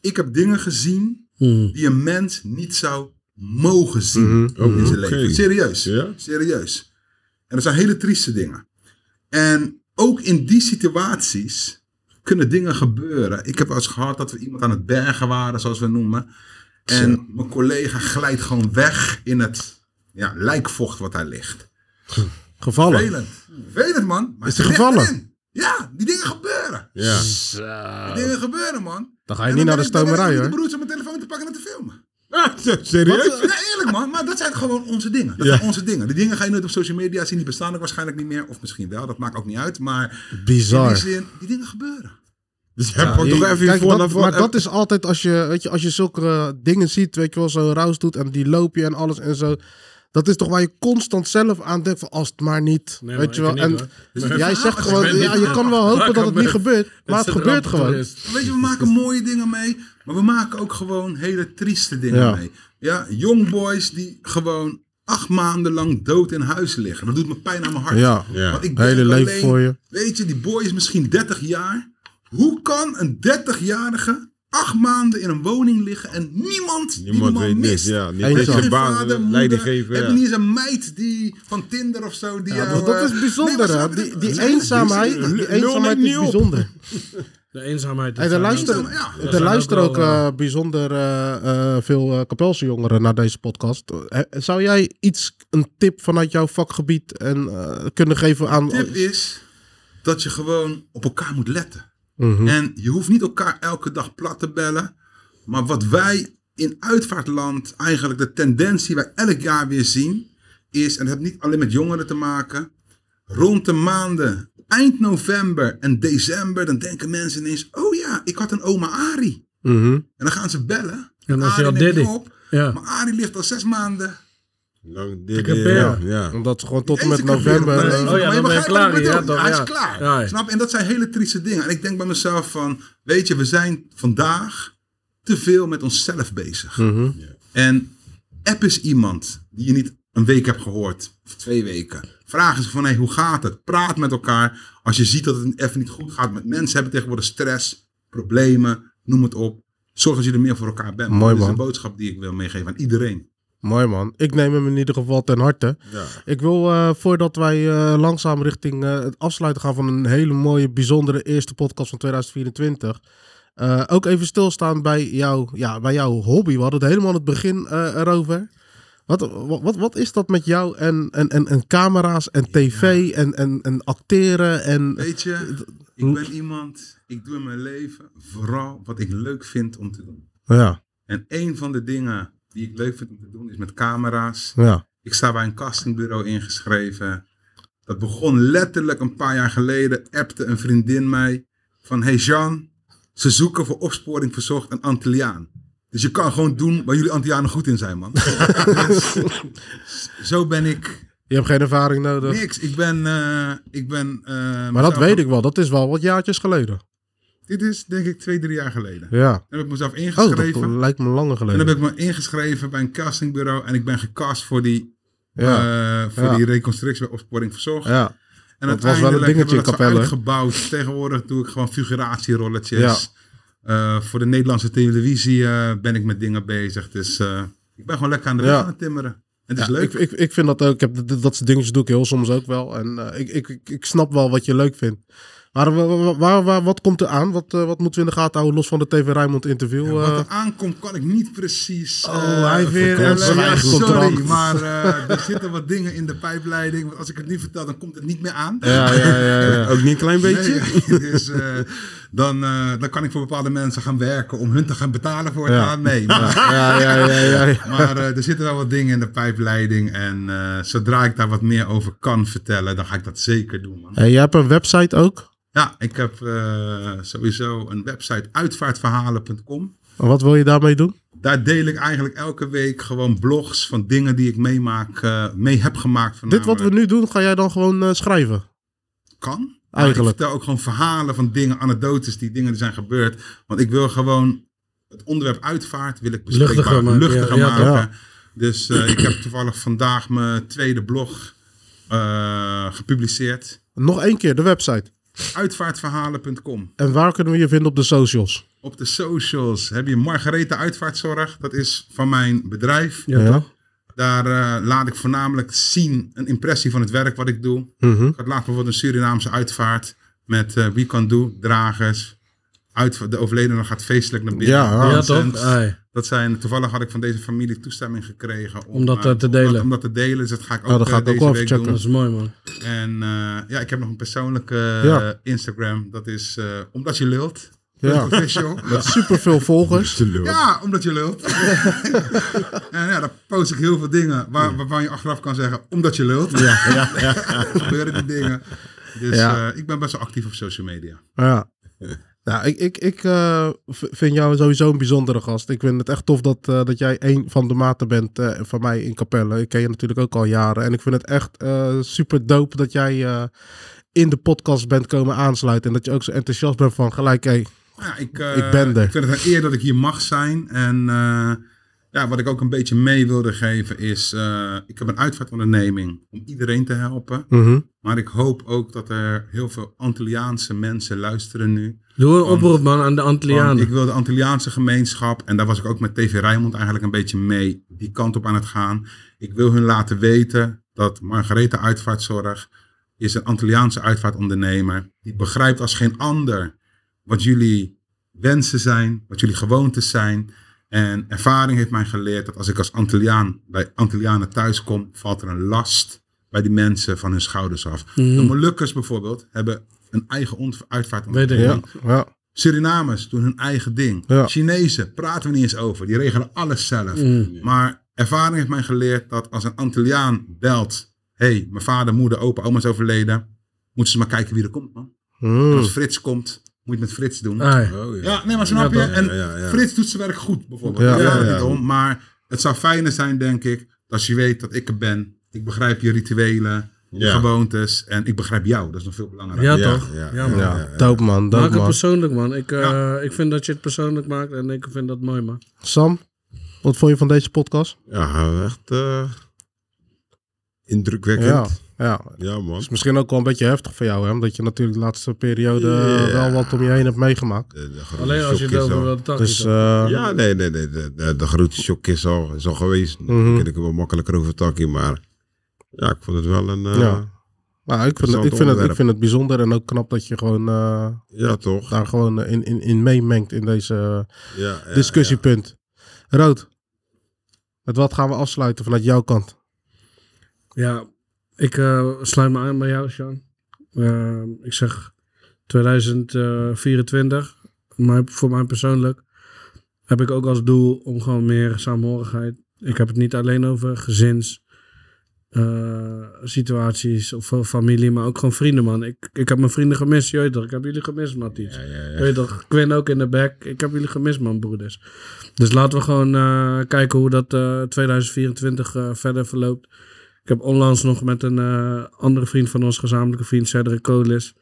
[SPEAKER 4] Ik heb dingen gezien
[SPEAKER 2] Mm.
[SPEAKER 4] die een mens niet zou mogen zien
[SPEAKER 3] Mhm.
[SPEAKER 4] in zijn
[SPEAKER 3] Oké.
[SPEAKER 4] leven. Serieus.
[SPEAKER 3] Ja?
[SPEAKER 4] Serieus. En dat zijn hele trieste dingen. En ook in die situaties kunnen dingen gebeuren. Ik heb wel eens gehad dat we iemand aan het bergen waren, zoals we noemen. En mijn collega glijdt gewoon weg in het ja, lijkvocht wat daar ligt.
[SPEAKER 1] Gevallen.
[SPEAKER 4] Velend. Velend, man.
[SPEAKER 1] Oh,
[SPEAKER 4] Maar
[SPEAKER 1] Is die
[SPEAKER 4] het ligt
[SPEAKER 1] gevallen?
[SPEAKER 4] erin. Ja, die dingen gebeuren.
[SPEAKER 3] Ja.
[SPEAKER 4] Die dingen gebeuren, man.
[SPEAKER 1] Dan ga je Ah. niet naar de stomerij,
[SPEAKER 4] Ik
[SPEAKER 1] hoor.
[SPEAKER 4] bedoel, om mijn telefoon te pakken en te filmen.
[SPEAKER 3] (laughs) Serieus?
[SPEAKER 4] Ja, eerlijk, man. Maar dat zijn gewoon onze dingen. Dat
[SPEAKER 3] Ja.
[SPEAKER 4] zijn onze dingen. Die dingen ga je nooit op social media zien. Die bestaan ook waarschijnlijk niet meer. Of misschien wel. Dat maakt ook niet uit. Maar in die
[SPEAKER 1] Bizar.
[SPEAKER 4] zin, die dingen gebeuren.
[SPEAKER 3] Dus jij pakt
[SPEAKER 1] Ja,
[SPEAKER 3] toch
[SPEAKER 1] je-
[SPEAKER 3] even je
[SPEAKER 1] kijk,
[SPEAKER 3] voor
[SPEAKER 1] dat,
[SPEAKER 3] naar
[SPEAKER 1] maar
[SPEAKER 3] voren.
[SPEAKER 1] dat is altijd als je, weet je, als je zulke eh, dingen ziet, weet je wel, zo raus doet en die loop je en alles en zo. Dat is toch waar je constant zelf aan denkt van als het maar niet,
[SPEAKER 2] Nee,
[SPEAKER 1] weet
[SPEAKER 2] man,
[SPEAKER 1] je
[SPEAKER 2] ik
[SPEAKER 1] wel.
[SPEAKER 2] niet,
[SPEAKER 1] En
[SPEAKER 2] hoor.
[SPEAKER 1] jij zegt
[SPEAKER 4] ik
[SPEAKER 1] gewoon,
[SPEAKER 2] ben
[SPEAKER 1] ja,
[SPEAKER 2] niet-
[SPEAKER 1] je kan wel
[SPEAKER 2] Waar
[SPEAKER 1] hopen
[SPEAKER 2] kan
[SPEAKER 1] dat het
[SPEAKER 2] men-
[SPEAKER 1] niet gebeurt, maar
[SPEAKER 2] Dat
[SPEAKER 1] het
[SPEAKER 2] is een
[SPEAKER 1] gebeurt
[SPEAKER 2] ramp,
[SPEAKER 1] gewoon.
[SPEAKER 2] toerist.
[SPEAKER 4] Weet je, we maken mooie dingen mee, maar we maken ook gewoon hele trieste dingen
[SPEAKER 1] Ja.
[SPEAKER 4] mee. Ja, young boys die gewoon acht maanden lang dood in huis liggen. Dat doet me pijn aan mijn hart.
[SPEAKER 1] Ja.
[SPEAKER 3] Ja.
[SPEAKER 4] Want ik
[SPEAKER 1] Hele
[SPEAKER 4] denk
[SPEAKER 1] leven voor je.
[SPEAKER 4] Weet je, die boy is misschien 30 jaar. Hoe kan een 30-jarige acht maanden in een woning liggen en niemand, die
[SPEAKER 3] Niemand
[SPEAKER 4] man
[SPEAKER 3] weet niks.
[SPEAKER 4] mist?
[SPEAKER 3] Ja, niet
[SPEAKER 1] Eén
[SPEAKER 3] eens
[SPEAKER 1] zak.
[SPEAKER 3] je
[SPEAKER 4] Geen
[SPEAKER 3] baan,
[SPEAKER 4] vader, moeder,
[SPEAKER 3] leidinggever.
[SPEAKER 4] heb
[SPEAKER 3] ja.
[SPEAKER 4] je niet eens een meid die van Tinder of zo. Die
[SPEAKER 1] Ja,
[SPEAKER 4] jou,
[SPEAKER 1] dat, dat
[SPEAKER 4] eh,
[SPEAKER 1] is bijzonder,
[SPEAKER 4] nee, maar
[SPEAKER 1] hè.
[SPEAKER 4] snap je
[SPEAKER 1] Die,
[SPEAKER 4] dat?
[SPEAKER 1] die
[SPEAKER 4] Dat zijn
[SPEAKER 1] eenzaamheid,
[SPEAKER 4] trieste dingen.
[SPEAKER 1] die
[SPEAKER 3] Lul
[SPEAKER 1] eenzaamheid
[SPEAKER 3] neemt
[SPEAKER 1] is
[SPEAKER 3] niet op.
[SPEAKER 1] bijzonder.
[SPEAKER 2] De eenzaamheid.
[SPEAKER 1] Hey, er
[SPEAKER 4] eenzaam,
[SPEAKER 1] luisteren,
[SPEAKER 4] ja.
[SPEAKER 1] er
[SPEAKER 2] zijn
[SPEAKER 1] luisteren
[SPEAKER 2] ook
[SPEAKER 1] ook
[SPEAKER 2] wel,
[SPEAKER 1] eh, bijzonder eh, eh, veel eh Kapelse jongeren naar deze podcast. Eh, zou jij iets, een tip vanuit jouw vakgebied en, eh, kunnen geven aan...
[SPEAKER 4] tip is dat je gewoon op elkaar moet letten.
[SPEAKER 1] Mhm.
[SPEAKER 4] En je hoeft niet elkaar elke dag plat te bellen. Maar wat wij in uitvaartland eigenlijk de tendens die wij elk jaar weer zien, is, en dat heeft niet alleen met jongeren te maken, rond de maanden eind november en december, dan denken mensen ineens, oh ja, ik had een oma Ari.
[SPEAKER 1] Mhm.
[SPEAKER 4] En dan gaan ze bellen.
[SPEAKER 2] En dan is hij
[SPEAKER 4] Ari
[SPEAKER 2] al
[SPEAKER 4] neemt niet
[SPEAKER 2] daddy.
[SPEAKER 4] op.
[SPEAKER 2] Ja.
[SPEAKER 4] Maar Ari ligt al zes maanden.
[SPEAKER 3] Lang dit,
[SPEAKER 2] heb
[SPEAKER 3] ja.
[SPEAKER 2] er.
[SPEAKER 3] ja.
[SPEAKER 1] Omdat ze gewoon tot en
[SPEAKER 4] Eens
[SPEAKER 1] met
[SPEAKER 4] een keer
[SPEAKER 1] november...
[SPEAKER 4] weer op
[SPEAKER 1] eh,
[SPEAKER 4] mijn
[SPEAKER 2] Oh ja,
[SPEAKER 4] leven. Maar
[SPEAKER 2] dan ben je
[SPEAKER 4] begrijpt wat ik
[SPEAKER 2] klaar hier, ja,
[SPEAKER 4] bedoel.
[SPEAKER 2] toch,
[SPEAKER 4] Hij
[SPEAKER 2] ja.
[SPEAKER 4] is klaar.
[SPEAKER 2] Ja, ja.
[SPEAKER 4] Snap? je? En dat zijn hele trieste dingen. En ik denk bij mezelf van, weet je, we zijn vandaag te veel met onszelf bezig.
[SPEAKER 1] mhm.
[SPEAKER 4] En app is iemand die je niet een week hebt gehoord. Of twee weken. Vraag eens van, hey, hoe gaat het? Praat met elkaar. Als je ziet dat het even niet goed gaat met mensen, hebben tegenwoordig stress, problemen, noem het op. Zorg dat je er meer voor elkaar bent.
[SPEAKER 1] Mooi,
[SPEAKER 4] Dat is
[SPEAKER 1] man.
[SPEAKER 4] een boodschap die ik wil meegeven aan iedereen.
[SPEAKER 1] Mooi man. Ik neem hem in ieder geval ten harte.
[SPEAKER 3] Ja.
[SPEAKER 1] Ik wil, eh, voordat wij eh, langzaam richting eh, het afsluiten gaan van een hele mooie, bijzondere eerste podcast van 2024. eh, ook even stilstaan bij, jou, ja, bij jouw hobby. We hadden het helemaal aan het begin eh, erover. Wat, wat, wat, wat is dat met jou en, en, en, en camera's en tv en, en, en acteren? En,
[SPEAKER 4] Weet je, ik ben iemand, ik doe in mijn leven vooral wat ik leuk vind om te doen.
[SPEAKER 1] ja,
[SPEAKER 4] En een van de dingen die ik leuk vind om te doen is met camera's.
[SPEAKER 1] ja.
[SPEAKER 4] Ik sta bij een castingbureau ingeschreven. Dat begon letterlijk een paar jaar geleden. Appte een vriendin mij van, hey Jean, ze zoeken voor opsporing verzocht een Antilliaan. Dus je kan gewoon doen waar jullie Antillianen goed in
[SPEAKER 1] (laughs)
[SPEAKER 4] zijn, man. Dus zo ben ik.
[SPEAKER 1] Je hebt geen ervaring nodig.
[SPEAKER 4] Niks. Ik ben... eh, ik ben eh,
[SPEAKER 1] maar dat
[SPEAKER 4] mezelf-
[SPEAKER 1] weet ik wel. Dat is wel wat jaartjes geleden.
[SPEAKER 4] Dit is denk ik twee, drie jaar geleden.
[SPEAKER 1] Ja.
[SPEAKER 4] Dan heb ik mezelf
[SPEAKER 1] Oh,
[SPEAKER 4] ingeschreven.
[SPEAKER 1] dat lijkt me langer
[SPEAKER 4] en
[SPEAKER 1] geleden.
[SPEAKER 4] dan heb ik me ingeschreven bij een castingbureau. En ik ben gecast voor die,
[SPEAKER 1] ja.
[SPEAKER 4] eh, voor
[SPEAKER 1] Ja.
[SPEAKER 4] die reconstructie bij Opsporing Verzorgd.
[SPEAKER 1] ja.
[SPEAKER 4] en
[SPEAKER 1] dat was wel een
[SPEAKER 4] uiteindelijk hebben
[SPEAKER 1] dingetje
[SPEAKER 4] we
[SPEAKER 1] in
[SPEAKER 4] dat zo
[SPEAKER 1] Capelle.
[SPEAKER 4] uitgebouwd. Tegenwoordig doe ik gewoon figuratierolletjes.
[SPEAKER 1] Ja.
[SPEAKER 4] Eh, voor de Nederlandse televisie eh, ben ik met dingen bezig. Dus eh, ik ben gewoon lekker aan de weg
[SPEAKER 1] Ja.
[SPEAKER 4] aan het timmeren. En het is
[SPEAKER 1] Ja,
[SPEAKER 4] leuk.
[SPEAKER 1] Ik, ik, ik vind dat ook. Ik heb, d- d- dat soort dingetjes doe ik heel soms ook wel. En eh, ik, ik, ik, ik snap wel wat je leuk vindt. Maar wa- wa- waar, waar, wat komt er aan? Wat, eh, wat moeten we in de gaten houden? Los van de TV Rijnmond interview.
[SPEAKER 4] Ja, wat
[SPEAKER 1] eh.
[SPEAKER 4] er aankomt kan ik niet precies.
[SPEAKER 1] Oh,
[SPEAKER 4] eh,
[SPEAKER 1] hij weer
[SPEAKER 4] vertellen.
[SPEAKER 1] een zwijgcontract.
[SPEAKER 4] Sorry, maar eh, er zitten wat dingen in de pijpleiding. Want als ik het niet vertel, dan komt het niet meer aan.
[SPEAKER 1] ja, ja, ja, ja.
[SPEAKER 3] (laughs) Ook niet een klein beetje?
[SPEAKER 4] (laughs) Nee, dus eh, dan, eh, dan kan ik voor bepaalde mensen gaan werken om hun te gaan betalen voor het
[SPEAKER 1] Ja.
[SPEAKER 4] aan. Nee, maar,
[SPEAKER 3] (laughs)
[SPEAKER 1] Ja, ja, ja, ja, ja.
[SPEAKER 4] maar eh, er zitten wel wat dingen in de pijpleiding. En eh, zodra ik daar wat meer over kan vertellen, dan ga ik dat zeker doen. Man.
[SPEAKER 1] Hey, jij hebt een website ook.
[SPEAKER 4] Ja, ik heb eh, sowieso een website uitvaartverhalen.com.
[SPEAKER 1] En Wat wil je daarmee doen?
[SPEAKER 4] Daar deel ik eigenlijk elke week gewoon blogs van dingen die ik meemaak, eh, mee heb gemaakt.
[SPEAKER 1] Dit wat we
[SPEAKER 4] voornamelijk.
[SPEAKER 1] nu doen, ga jij dan gewoon eh, schrijven?
[SPEAKER 4] kan.
[SPEAKER 1] Eigenlijk.
[SPEAKER 4] Ik vertel ook gewoon verhalen van dingen, anekdotes die dingen die zijn gebeurd. Want ik wil gewoon het onderwerp uitvaart wil ik bespreekbaar,
[SPEAKER 2] Luchtiger
[SPEAKER 4] luchtiger
[SPEAKER 2] maken,
[SPEAKER 4] maken.
[SPEAKER 2] ja, ja,
[SPEAKER 1] ja.
[SPEAKER 4] Dus eh, ik heb toevallig vandaag mijn tweede blog eh, gepubliceerd.
[SPEAKER 1] Nog één keer de website.
[SPEAKER 4] Uitvaartverhalen.com.
[SPEAKER 1] En waar kunnen we je vinden op de socials?
[SPEAKER 4] Op de socials heb je Margarethe Uitvaartzorg. Dat is van mijn bedrijf.
[SPEAKER 2] Ja, toch?
[SPEAKER 4] Daar eh, laat ik voornamelijk zien een impressie van het werk wat ik doe.
[SPEAKER 1] Mhm.
[SPEAKER 4] Ik had laatst bijvoorbeeld een Surinaamse uitvaart met eh We Can Do, dragers. Uitva- de overledene gaat feestelijk naar binnen.
[SPEAKER 1] Ja,
[SPEAKER 2] Ja,
[SPEAKER 4] Dansend.
[SPEAKER 2] toch? Ai.
[SPEAKER 4] Dat zijn, toevallig had ik van deze familie toestemming gekregen.
[SPEAKER 2] Om dat,
[SPEAKER 4] eh,
[SPEAKER 2] eh, te
[SPEAKER 4] om
[SPEAKER 2] delen.
[SPEAKER 4] dat- Om dat te delen, dus dat ga ik ook,
[SPEAKER 1] dat
[SPEAKER 4] eh,
[SPEAKER 1] ga ik ook
[SPEAKER 4] deze
[SPEAKER 1] wel
[SPEAKER 4] week
[SPEAKER 1] even checken.
[SPEAKER 2] Dat
[SPEAKER 4] doen.
[SPEAKER 2] is mooi, man.
[SPEAKER 4] En eh, ja, ik heb nog een persoonlijke eh,
[SPEAKER 1] Ja.
[SPEAKER 4] Instagram. Dat is eh, Omdat Je Lult. (laughs)
[SPEAKER 1] Ja.
[SPEAKER 4] Official.
[SPEAKER 1] Met superveel volgers.
[SPEAKER 4] Ja, omdat je (laughs) lult. en ja, dan post ik heel veel dingen waar, waarvan je achteraf kan zeggen, omdat je lult. Ja, (laughs) gebeuren die dingen. Dus
[SPEAKER 1] Ja.
[SPEAKER 4] eh, ik ben best wel actief op social media.
[SPEAKER 1] Ja. Nou, ik, ik, ik eh, v- vind jou sowieso een bijzondere gast. Ik vind het echt tof dat, eh, dat jij één van de maten bent eh, van mij in Capelle. Ik ken je natuurlijk ook al jaren. En ik vind het echt eh, super dope dat jij eh, in de podcast bent komen aansluiten. En dat je ook zo enthousiast bent van gelijk, hé,
[SPEAKER 4] Ja, ik, eh,
[SPEAKER 1] Ik ben er.
[SPEAKER 4] Ik vind het een eer dat ik hier mag zijn. En eh, ja, wat ik ook een beetje mee wilde geven is, eh, ik heb een uitvaartonderneming om iedereen te helpen.
[SPEAKER 1] mhm,
[SPEAKER 4] Maar ik hoop ook dat er heel veel Antilliaanse mensen luisteren nu.
[SPEAKER 2] Doe een oproep, man, aan de
[SPEAKER 4] Want Ik
[SPEAKER 2] Antillianen.
[SPEAKER 4] wil de Antilliaanse gemeenschap, en daar was ik ook met TV Rijnmond eigenlijk een beetje mee die kant op aan het gaan. Ik wil hun laten weten dat Margarethe Uitvaartzorg is een Antilliaanse uitvaartondernemer. Die begrijpt als geen ander wat jullie wensen zijn, wat jullie gewoontes zijn. En ervaring heeft mij geleerd dat als ik als Antilliaan bij Antillianen thuis kom, valt er een last bij die mensen van hun schouders af.
[SPEAKER 2] Mhm.
[SPEAKER 4] De Molukkers bijvoorbeeld hebben een eigen ont- uitvaartonderneming.
[SPEAKER 2] Weet
[SPEAKER 1] ja, ja,
[SPEAKER 4] Surinamers doen hun eigen ding.
[SPEAKER 1] Ja.
[SPEAKER 4] Chinezen praten we niet eens over. Die regelen alles zelf. Maar ervaring heeft mij geleerd dat als een Antilliaan belt... hey, mijn vader, moeder, opa, oma is overleden... moeten ze maar kijken wie er komt, man.
[SPEAKER 1] Mm.
[SPEAKER 4] Als Frits komt, moet je het met Frits doen.
[SPEAKER 2] Ai.
[SPEAKER 3] Oh, ja.
[SPEAKER 4] Ja, nee, maar snap je?
[SPEAKER 2] Ah. Ja, toch?
[SPEAKER 4] en
[SPEAKER 3] Ja, ja, ja.
[SPEAKER 4] Frits doet zijn werk goed, bijvoorbeeld.
[SPEAKER 1] Ja,
[SPEAKER 4] Ja,
[SPEAKER 1] ja,
[SPEAKER 4] gaat
[SPEAKER 3] ja.
[SPEAKER 4] niet om. Maar het zou fijner zijn, denk ik, als je weet dat ik er ben. Ik begrijp je rituelen, je
[SPEAKER 3] Ja.
[SPEAKER 4] gewoontes. En ik begrijp jou. Dat is nog veel belangrijker.
[SPEAKER 2] Ja,
[SPEAKER 3] Ja,
[SPEAKER 2] toch?
[SPEAKER 3] ja,
[SPEAKER 2] Ja, man.
[SPEAKER 1] ja. Dope man, dope
[SPEAKER 2] Maak het
[SPEAKER 1] man.
[SPEAKER 2] persoonlijk, man. Ik, eh, ik vind dat je het persoonlijk maakt en ik vind dat mooi, man.
[SPEAKER 1] Sam, wat vond je van deze podcast?
[SPEAKER 3] Ja, echt eh, indrukwekkend.
[SPEAKER 1] Ja,
[SPEAKER 3] Ja,
[SPEAKER 1] ja.
[SPEAKER 3] man.
[SPEAKER 1] Is
[SPEAKER 2] Dus-
[SPEAKER 1] misschien ook wel een beetje heftig voor jou, hè? Omdat je natuurlijk de laatste periode eh,
[SPEAKER 3] Ja.
[SPEAKER 1] wel wat om je heen hebt meegemaakt.
[SPEAKER 3] De- de grote
[SPEAKER 2] Alleen als je
[SPEAKER 3] shock
[SPEAKER 2] het
[SPEAKER 3] is
[SPEAKER 2] over
[SPEAKER 3] al-
[SPEAKER 2] wil takken.
[SPEAKER 1] Dus,
[SPEAKER 2] toch?
[SPEAKER 1] eh,
[SPEAKER 3] Ja, nee, nee, nee. De, de, de grote shock is al, is al geweest.
[SPEAKER 2] Mm.
[SPEAKER 1] Mhm.
[SPEAKER 3] Dan kan ik er wel makkelijker over takken, maar... Ja, ik vond het wel een... eh,
[SPEAKER 1] Ja.
[SPEAKER 3] ja.
[SPEAKER 1] Nou, ik vind, het,
[SPEAKER 3] Interessant
[SPEAKER 1] ik, vind het, ik
[SPEAKER 3] onderwerp.
[SPEAKER 1] vind het bijzonder en ook knap dat je gewoon, eh,
[SPEAKER 3] toch? Ja,
[SPEAKER 1] daar gewoon eh, in, in, in meemengt in deze eh,
[SPEAKER 3] ja,
[SPEAKER 1] discussiepunt. Rood, met wat gaan we afsluiten vanuit jouw kant?
[SPEAKER 2] Ja, ik eh, sluit me aan bij jou, Sean. Eh, ik zeg 2024, maar voor mij persoonlijk heb ik ook als doel om gewoon meer saamhorigheid. Ik heb het niet alleen over gezins, eh, situaties of eh, familie, maar ook gewoon vrienden, man. Ik, ik heb mijn vrienden gemist, je weet toch? Ik heb jullie gemist, Matthijs.
[SPEAKER 3] Ja, ja, ja.
[SPEAKER 2] Weet je toch, Quinn ook in de back. Ik heb jullie gemist, man, broeders. Dus laten we gewoon eh, kijken hoe dat eh, 2024 eh, verder verloopt. Ik heb onlangs nog met een eh, andere vriend van ons, gezamenlijke vriend, Cedric Colis.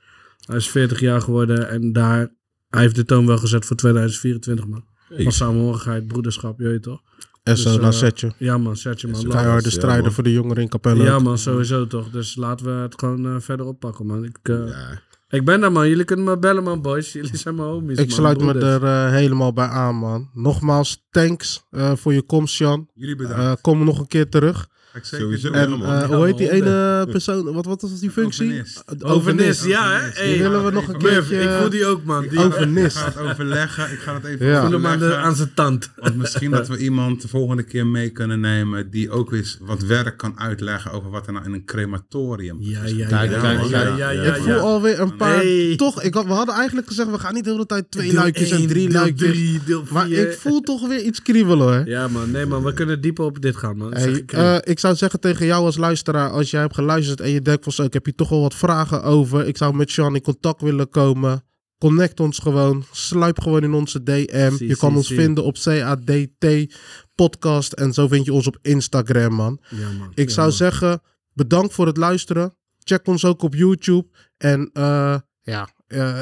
[SPEAKER 2] Hij is 40 jaar geworden en daar, hij heeft de toon wel gezet voor 2024, man. Van samenhorigheid, broederschap, je weet toch?
[SPEAKER 3] Dus,
[SPEAKER 1] SO
[SPEAKER 2] eh,
[SPEAKER 1] naar setje.
[SPEAKER 2] Ja, man, zet je man. Laten we-
[SPEAKER 1] Keiharde
[SPEAKER 3] nou, ja,
[SPEAKER 1] strijden
[SPEAKER 3] man.
[SPEAKER 1] voor de jongeren in Capelle.
[SPEAKER 2] Ja, man, sowieso toch. Dus laten we het gewoon eh, verder oppakken, man. Ik, eh,
[SPEAKER 3] Ja.
[SPEAKER 2] ik ben daar, man. Jullie kunnen me bellen, man, boys. Jullie zijn mijn homies.
[SPEAKER 1] Ik
[SPEAKER 2] man,
[SPEAKER 1] sluit me
[SPEAKER 2] broeders.
[SPEAKER 1] er eh, helemaal bij aan, man. Nogmaals, thanks eh, voor je komst, Jan.
[SPEAKER 4] Jullie bedankt.
[SPEAKER 1] Eh kom nog een keer terug.
[SPEAKER 4] Ga ik zeker
[SPEAKER 3] sowieso.
[SPEAKER 4] doen.
[SPEAKER 1] En
[SPEAKER 3] Ja, man.
[SPEAKER 1] eh,
[SPEAKER 2] Ja,
[SPEAKER 1] hoe heet die
[SPEAKER 2] man.
[SPEAKER 1] ene persoon? Wat, wat was die functie?
[SPEAKER 4] Overnist.
[SPEAKER 2] Overnist, ja, hè?
[SPEAKER 4] Overnist.
[SPEAKER 2] Hey,
[SPEAKER 1] Die willen we nog een
[SPEAKER 4] Murph,
[SPEAKER 2] Murph,
[SPEAKER 1] keertje...
[SPEAKER 2] ik voel die ook, man. Die
[SPEAKER 1] Oh,
[SPEAKER 2] voel
[SPEAKER 1] Overnist.
[SPEAKER 4] Ik ga het overleggen. Ik ga het even
[SPEAKER 1] Ja.
[SPEAKER 2] hem aan, de,
[SPEAKER 4] overleggen.
[SPEAKER 2] aan zijn tand.
[SPEAKER 4] Want misschien dat we iemand de volgende keer mee kunnen nemen die ook eens wat werk kan uitleggen over wat er nou in een crematorium.
[SPEAKER 2] Ja, ja,
[SPEAKER 3] Kijk,
[SPEAKER 2] ja.
[SPEAKER 3] kijk,
[SPEAKER 2] ja,
[SPEAKER 3] kijk.
[SPEAKER 2] ja, ja,
[SPEAKER 1] Ik
[SPEAKER 3] Ik
[SPEAKER 2] ja.
[SPEAKER 1] voel alweer een paar.
[SPEAKER 2] Hey.
[SPEAKER 1] Toch, ik had, we hadden eigenlijk gezegd: we gaan niet de hele tijd twee
[SPEAKER 2] Deel
[SPEAKER 1] luikjes en
[SPEAKER 2] één,
[SPEAKER 1] drie
[SPEAKER 2] deel
[SPEAKER 1] luikjes.
[SPEAKER 2] drie, deel
[SPEAKER 1] maar
[SPEAKER 2] vier.
[SPEAKER 1] ik voel toch weer iets kriebelen hoor.
[SPEAKER 2] Ja, man. Nee, man. We kunnen dieper op dit gaan, man.
[SPEAKER 1] Hey,
[SPEAKER 2] Zeg ik,
[SPEAKER 1] eh, ik zou zeggen tegen jou als luisteraar, als jij hebt geluisterd en je denkt van zo, ik heb hier toch wel wat vragen over. Ik zou met Sean in contact willen komen. Connect ons gewoon. Sluip gewoon in onze DM.
[SPEAKER 2] Zie,
[SPEAKER 1] je kan
[SPEAKER 2] zie,
[SPEAKER 1] ons
[SPEAKER 2] zie.
[SPEAKER 1] vinden op CADT podcast. En zo vind je ons op Instagram, man.
[SPEAKER 2] ja, man.
[SPEAKER 1] Ik
[SPEAKER 2] Ja,
[SPEAKER 1] zou
[SPEAKER 2] man.
[SPEAKER 1] zeggen, bedankt voor het luisteren. Check ons ook op YouTube. En eh, ja, eh,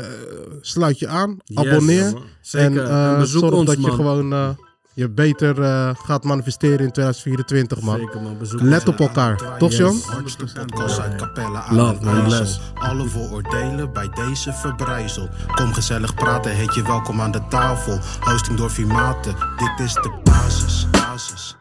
[SPEAKER 1] sluit je aan.
[SPEAKER 2] Yes,
[SPEAKER 1] Abonneer.
[SPEAKER 2] Zeker. En,
[SPEAKER 1] eh,
[SPEAKER 2] bezoek
[SPEAKER 1] zorg
[SPEAKER 2] ons,
[SPEAKER 1] dat
[SPEAKER 2] man.
[SPEAKER 1] je gewoon eh, je beter eh, gaat manifesteren in 2024, man.
[SPEAKER 2] Zeker man, bezoek
[SPEAKER 1] Let
[SPEAKER 2] ons.
[SPEAKER 1] op elkaar, toch, John?
[SPEAKER 5] Hardste podcast uit Capelle aan
[SPEAKER 2] Love,
[SPEAKER 5] den
[SPEAKER 2] man,
[SPEAKER 5] IJssel.
[SPEAKER 2] bless.
[SPEAKER 5] Alle vooroordelen bij deze verbrijzel. Kom gezellig praten, heet je welkom aan de tafel. Hosting door Vimaten, dit is de basis, basis.